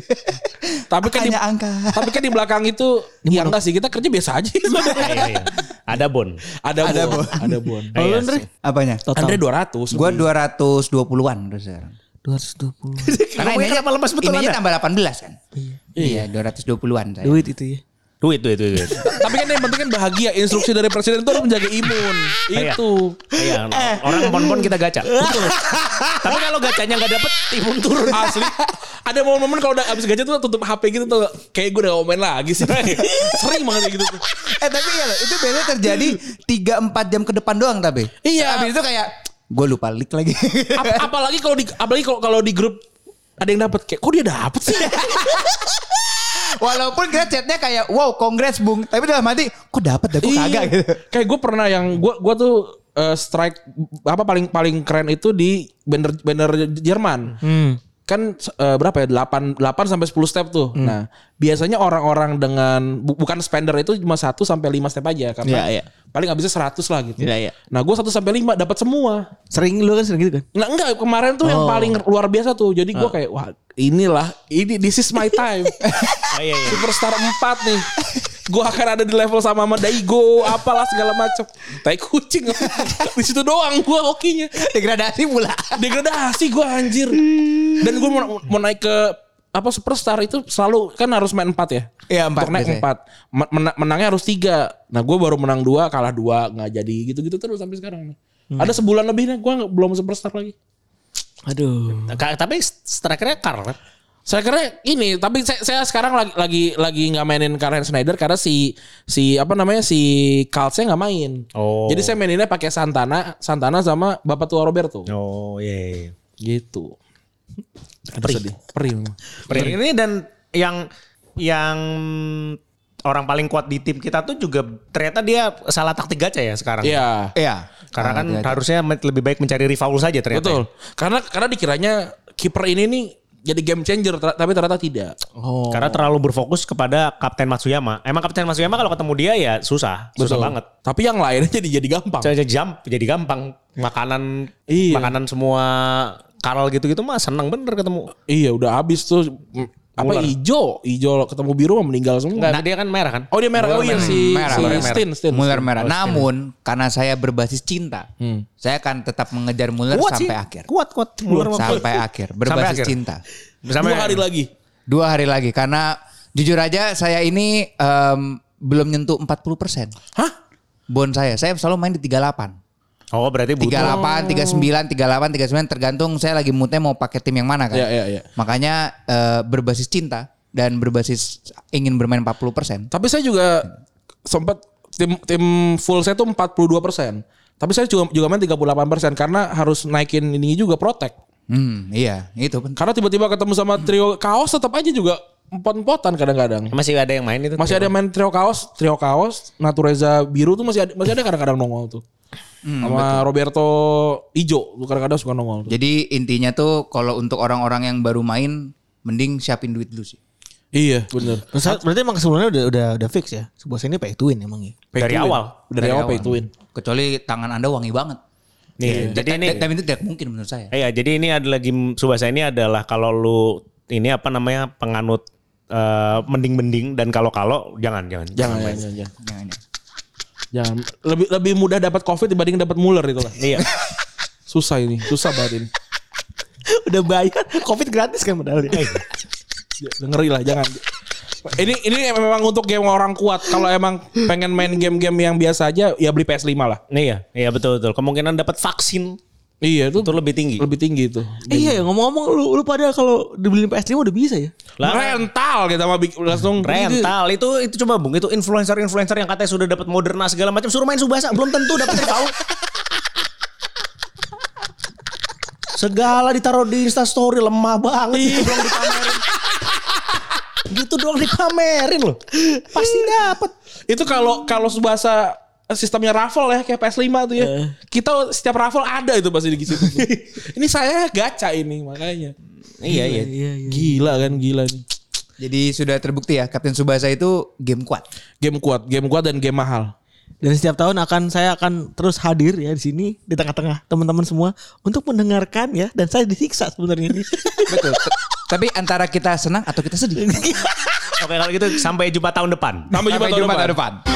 [SPEAKER 3] Tapi kan di,
[SPEAKER 1] Angkanya angka.
[SPEAKER 3] [laughs] tapi kan di belakang itu ya enggak sih kita kerja biasa [laughs] aja.
[SPEAKER 2] Iya, iya, iya. Ada bon.
[SPEAKER 3] ada ada bon. Ada bon.
[SPEAKER 2] [laughs] Oh, iya,
[SPEAKER 1] Apanya?
[SPEAKER 3] Andre 200.
[SPEAKER 1] Gue 220-an udah sekarang.
[SPEAKER 4] 220.
[SPEAKER 1] Karena ini
[SPEAKER 2] Ngomongnya
[SPEAKER 1] aja
[SPEAKER 2] kenapa lemas betul
[SPEAKER 1] ini aja
[SPEAKER 2] Anda?
[SPEAKER 1] ya. tambah 18 kan. Iya, 220-an saya.
[SPEAKER 4] Duit itu ya.
[SPEAKER 2] Duit, duit, duit. duit.
[SPEAKER 3] Tapi kan yang penting kan bahagia. Instruksi dari presiden itu harus menjaga imun.
[SPEAKER 2] Iya.
[SPEAKER 3] Itu.
[SPEAKER 2] [laughs] Iya, orang pon-pon kita [laughs] gacha. Tapi kalau gacanya nggak dapet, timun turun.
[SPEAKER 3] Asli. Ada momen-momen kalau udah abis gaji tuh tutup HP gitu tuh. Kayak gue udah gak mau main lagi sih. [laughs] Sering banget kayak gitu tuh.
[SPEAKER 1] Eh tapi ya loh, itu biasanya terjadi 3-4 jam ke depan doang tapi.
[SPEAKER 3] Iya.
[SPEAKER 1] Habis itu kayak gue lupa lik lagi.
[SPEAKER 3] Ap- apalagi kalau di apalagi kalau kalau di grup ada yang dapat kayak kok dia dapat sih
[SPEAKER 1] [laughs] Walaupun kita chatnya kayak wow kongres bung. Tapi dalam hati kok dapat dah
[SPEAKER 3] Iya.
[SPEAKER 1] gue kagak gitu. [laughs]
[SPEAKER 3] Kayak gue pernah yang gue gue tuh eh, strike apa paling paling keren itu di banner banner Jerman.
[SPEAKER 4] Hmm.
[SPEAKER 3] Kan eh, berapa ya 8 8 sampai 10 step tuh.
[SPEAKER 4] Hmm.
[SPEAKER 3] Nah, biasanya orang-orang dengan bu- bukan spender itu cuma 1 sampai 5 step aja karena
[SPEAKER 4] Iya, iya.
[SPEAKER 3] paling habisnya 100 lah gitu.
[SPEAKER 4] [laughs] Iya, iya.
[SPEAKER 3] Nah, gue 1 sampai 5 dapat semua.
[SPEAKER 4] Sering lu kan sering gitu kan?
[SPEAKER 3] Nah, enggak kemarin tuh yang paling luar biasa tuh. Jadi gue kayak wah, inilah ini this is my time.
[SPEAKER 2] Oh, iya, iya.
[SPEAKER 3] Superstar 4 nih. Gue akan ada di level sama sama Daigo, apalah segala macam. Tai kucing. [laughs] di situ doang gue hokinya.
[SPEAKER 1] Degradasi pula.
[SPEAKER 3] Degradasi gue anjir. Dan gue mau, mau naik ke apa superstar itu selalu kan harus main 4 ya.
[SPEAKER 1] Iya, empat
[SPEAKER 3] Untuk naik
[SPEAKER 1] biasanya.
[SPEAKER 3] 4. Men- menang- menangnya harus 3. Nah, gue baru menang 2, kalah 2, nggak jadi gitu-gitu terus sampai sekarang nih. Ada sebulan lebih nih gue belum superstar lagi.
[SPEAKER 4] Aduh.
[SPEAKER 2] Ka- Tapi strikernya Carl kan?
[SPEAKER 3] Saya kira ini, tapi saya, saya sekarang lagi lagi lagi nggak mainin Karen Snyder karena si si apa namanya si Kalsnya nggak main.
[SPEAKER 2] Oh.
[SPEAKER 3] Jadi saya maininnya pakai Santana, Santana sama Bapak Tua Roberto.
[SPEAKER 2] Oh iya. iya.
[SPEAKER 3] Gitu. Ada sedih. Perih. memang.
[SPEAKER 2] Ini dan yang yang orang paling kuat di tim kita tuh juga ternyata dia salah taktik gacha ya sekarang.
[SPEAKER 3] Iya.
[SPEAKER 1] Iya.
[SPEAKER 2] Karena kan harusnya me- lebih baik mencari rival saja ternyata. ya.
[SPEAKER 3] Betul. Karena karena dikiranya kiper ini nih jadi game changer ter- tapi ternyata tidak.
[SPEAKER 1] Oh.
[SPEAKER 2] Karena terlalu berfokus kepada Kapten Matsuyama. Emang Kapten Matsuyama kalau ketemu dia ya susah, susah banget.
[SPEAKER 3] Tapi yang lainnya [laughs] jadi jadi gampang.
[SPEAKER 2] Jadi jam jadi gampang makanan
[SPEAKER 3] Iya.
[SPEAKER 2] makanan semua Karl gitu-gitu mah seneng bener ketemu.
[SPEAKER 3] Iya, udah habis tuh Mm, apa
[SPEAKER 2] Muller.
[SPEAKER 3] ijo, ijo ketemu biru mah meninggal semua.
[SPEAKER 2] Nah, dia kan merah kan?
[SPEAKER 3] Oh dia merah, oh iya si,
[SPEAKER 1] merah,
[SPEAKER 3] si
[SPEAKER 1] merah.
[SPEAKER 3] Stin, Stin.
[SPEAKER 1] Muller merah. Namun karena saya berbasis cinta, saya akan tetap mengejar Muller
[SPEAKER 2] kuat
[SPEAKER 1] sampai
[SPEAKER 2] sih.
[SPEAKER 1] akhir.
[SPEAKER 2] Kuat kuat. Muller mah kuat.
[SPEAKER 1] Sampai akhir, berbasis
[SPEAKER 2] akhir.
[SPEAKER 1] cinta.
[SPEAKER 2] Sampai
[SPEAKER 3] Dua hari lagi.
[SPEAKER 1] Dua hari lagi karena jujur aja saya ini em, belum nyentuh 40%.
[SPEAKER 3] Hah?
[SPEAKER 1] Bon saya, saya selalu main di 38.
[SPEAKER 2] Oh berarti butuh.
[SPEAKER 1] 38, 39, 38, 39 tergantung saya lagi moodnya mau pakai tim yang mana kan.
[SPEAKER 3] Iya, iya, iya.
[SPEAKER 1] Makanya eh, berbasis cinta dan berbasis ingin bermain 40%.
[SPEAKER 3] Tapi saya juga sempat tim tim full saya tuh 42 Tapi saya juga juga main 38 karena harus naikin ini juga protect.
[SPEAKER 1] Hmm, iya, itu penting.
[SPEAKER 3] Karena tiba-tiba ketemu sama trio kaos tetap aja juga empot-empotan kadang-kadang.
[SPEAKER 2] Masih ada yang main itu.
[SPEAKER 3] Masih ada main trio kaos, trio kaos, Natureza biru tuh masih ada, masih ada kadang-kadang nongol tuh. sama Roberto Ijo tuh kadang-kadang suka nongol tuh.
[SPEAKER 1] Jadi intinya tuh kalau untuk orang-orang yang baru main mending siapin duit dulu sih.
[SPEAKER 3] Iya, bener.
[SPEAKER 4] Berarti emang sebenarnya udah udah udah fix ya. Sebuah sini pay to win emang ya.
[SPEAKER 3] Pay
[SPEAKER 2] Dari
[SPEAKER 3] to win.
[SPEAKER 2] awal.
[SPEAKER 3] dari, awal pay to win.
[SPEAKER 1] Kecuali tangan Anda wangi banget.
[SPEAKER 3] Iya.
[SPEAKER 2] Nih, Iya, jadi ini
[SPEAKER 1] Dan itu tidak mungkin menurut saya.
[SPEAKER 2] Iya, jadi ini ada lagi Subasa ini adalah kalau lu ini apa namanya penganut eh, mending-mending dan kalau-kalau jangan jangan.
[SPEAKER 3] Jangan, jangan, jangan, jangan.
[SPEAKER 1] Yang Nah, ini.
[SPEAKER 3] Jangan. Lebih lebih mudah dapat Covid dibanding dapat Muller itu lah.
[SPEAKER 2] Iya.
[SPEAKER 3] [laughs] Susah ini, susah banget ini.
[SPEAKER 4] [laughs] udah bayar covid gratis kan padahal. ya.
[SPEAKER 3] Ngeri lah, jangan. Ini ini memang untuk game orang kuat. Kalau emang pengen main game-game yang biasa aja, ya beli PS5 lah.
[SPEAKER 2] iya, iya betul betul. Kemungkinan dapat vaksin
[SPEAKER 3] Iya, itu
[SPEAKER 2] itu lebih tinggi.
[SPEAKER 3] lebih tinggi itu.
[SPEAKER 4] Eh, iya ya ngomong-ngomong lu lu pada kalau dibeliin PS5 udah bisa ya.
[SPEAKER 2] Lah, kan?
[SPEAKER 3] rental kita sama bik- langsung
[SPEAKER 2] Hmm, rental itu itu coba Bung, itu influencer-influencer yang katanya sudah dapat Moderna segala macam suruh main Subasa belum tentu dapat
[SPEAKER 3] [laughs]
[SPEAKER 2] tahu. Segala ditaruh di Insta story lemah banget gitu doang
[SPEAKER 4] [laughs]
[SPEAKER 2] dipamerin. gitu doang dipamerin loh. Pasti dapat.
[SPEAKER 3] Itu kalau kalau bahasa sistemnya raffle ya kayak PS5 tuh ya.
[SPEAKER 2] Eh.
[SPEAKER 3] Kita setiap raffle ada itu pasti di
[SPEAKER 2] [laughs]
[SPEAKER 3] situ. ini saya gacha ini makanya.
[SPEAKER 2] Iya, iya.
[SPEAKER 3] Gila kan gila nih.
[SPEAKER 1] Jadi sudah terbukti ya Kapten Subasa itu game kuat.
[SPEAKER 3] Game kuat, game kuat dan game mahal.
[SPEAKER 4] Dan setiap tahun akan saya akan terus hadir ya di sini di tengah-tengah teman-teman semua untuk mendengarkan ya dan saya disiksa sebenarnya ini.
[SPEAKER 2] [laughs]
[SPEAKER 1] Betul. T- Tapi antara kita senang atau kita sedih.
[SPEAKER 2] Oke kalau gitu sampai jumpa tahun depan.
[SPEAKER 3] Tá,
[SPEAKER 1] Tá,
[SPEAKER 3] Sampai jumpa tahun depan.
[SPEAKER 1] depan.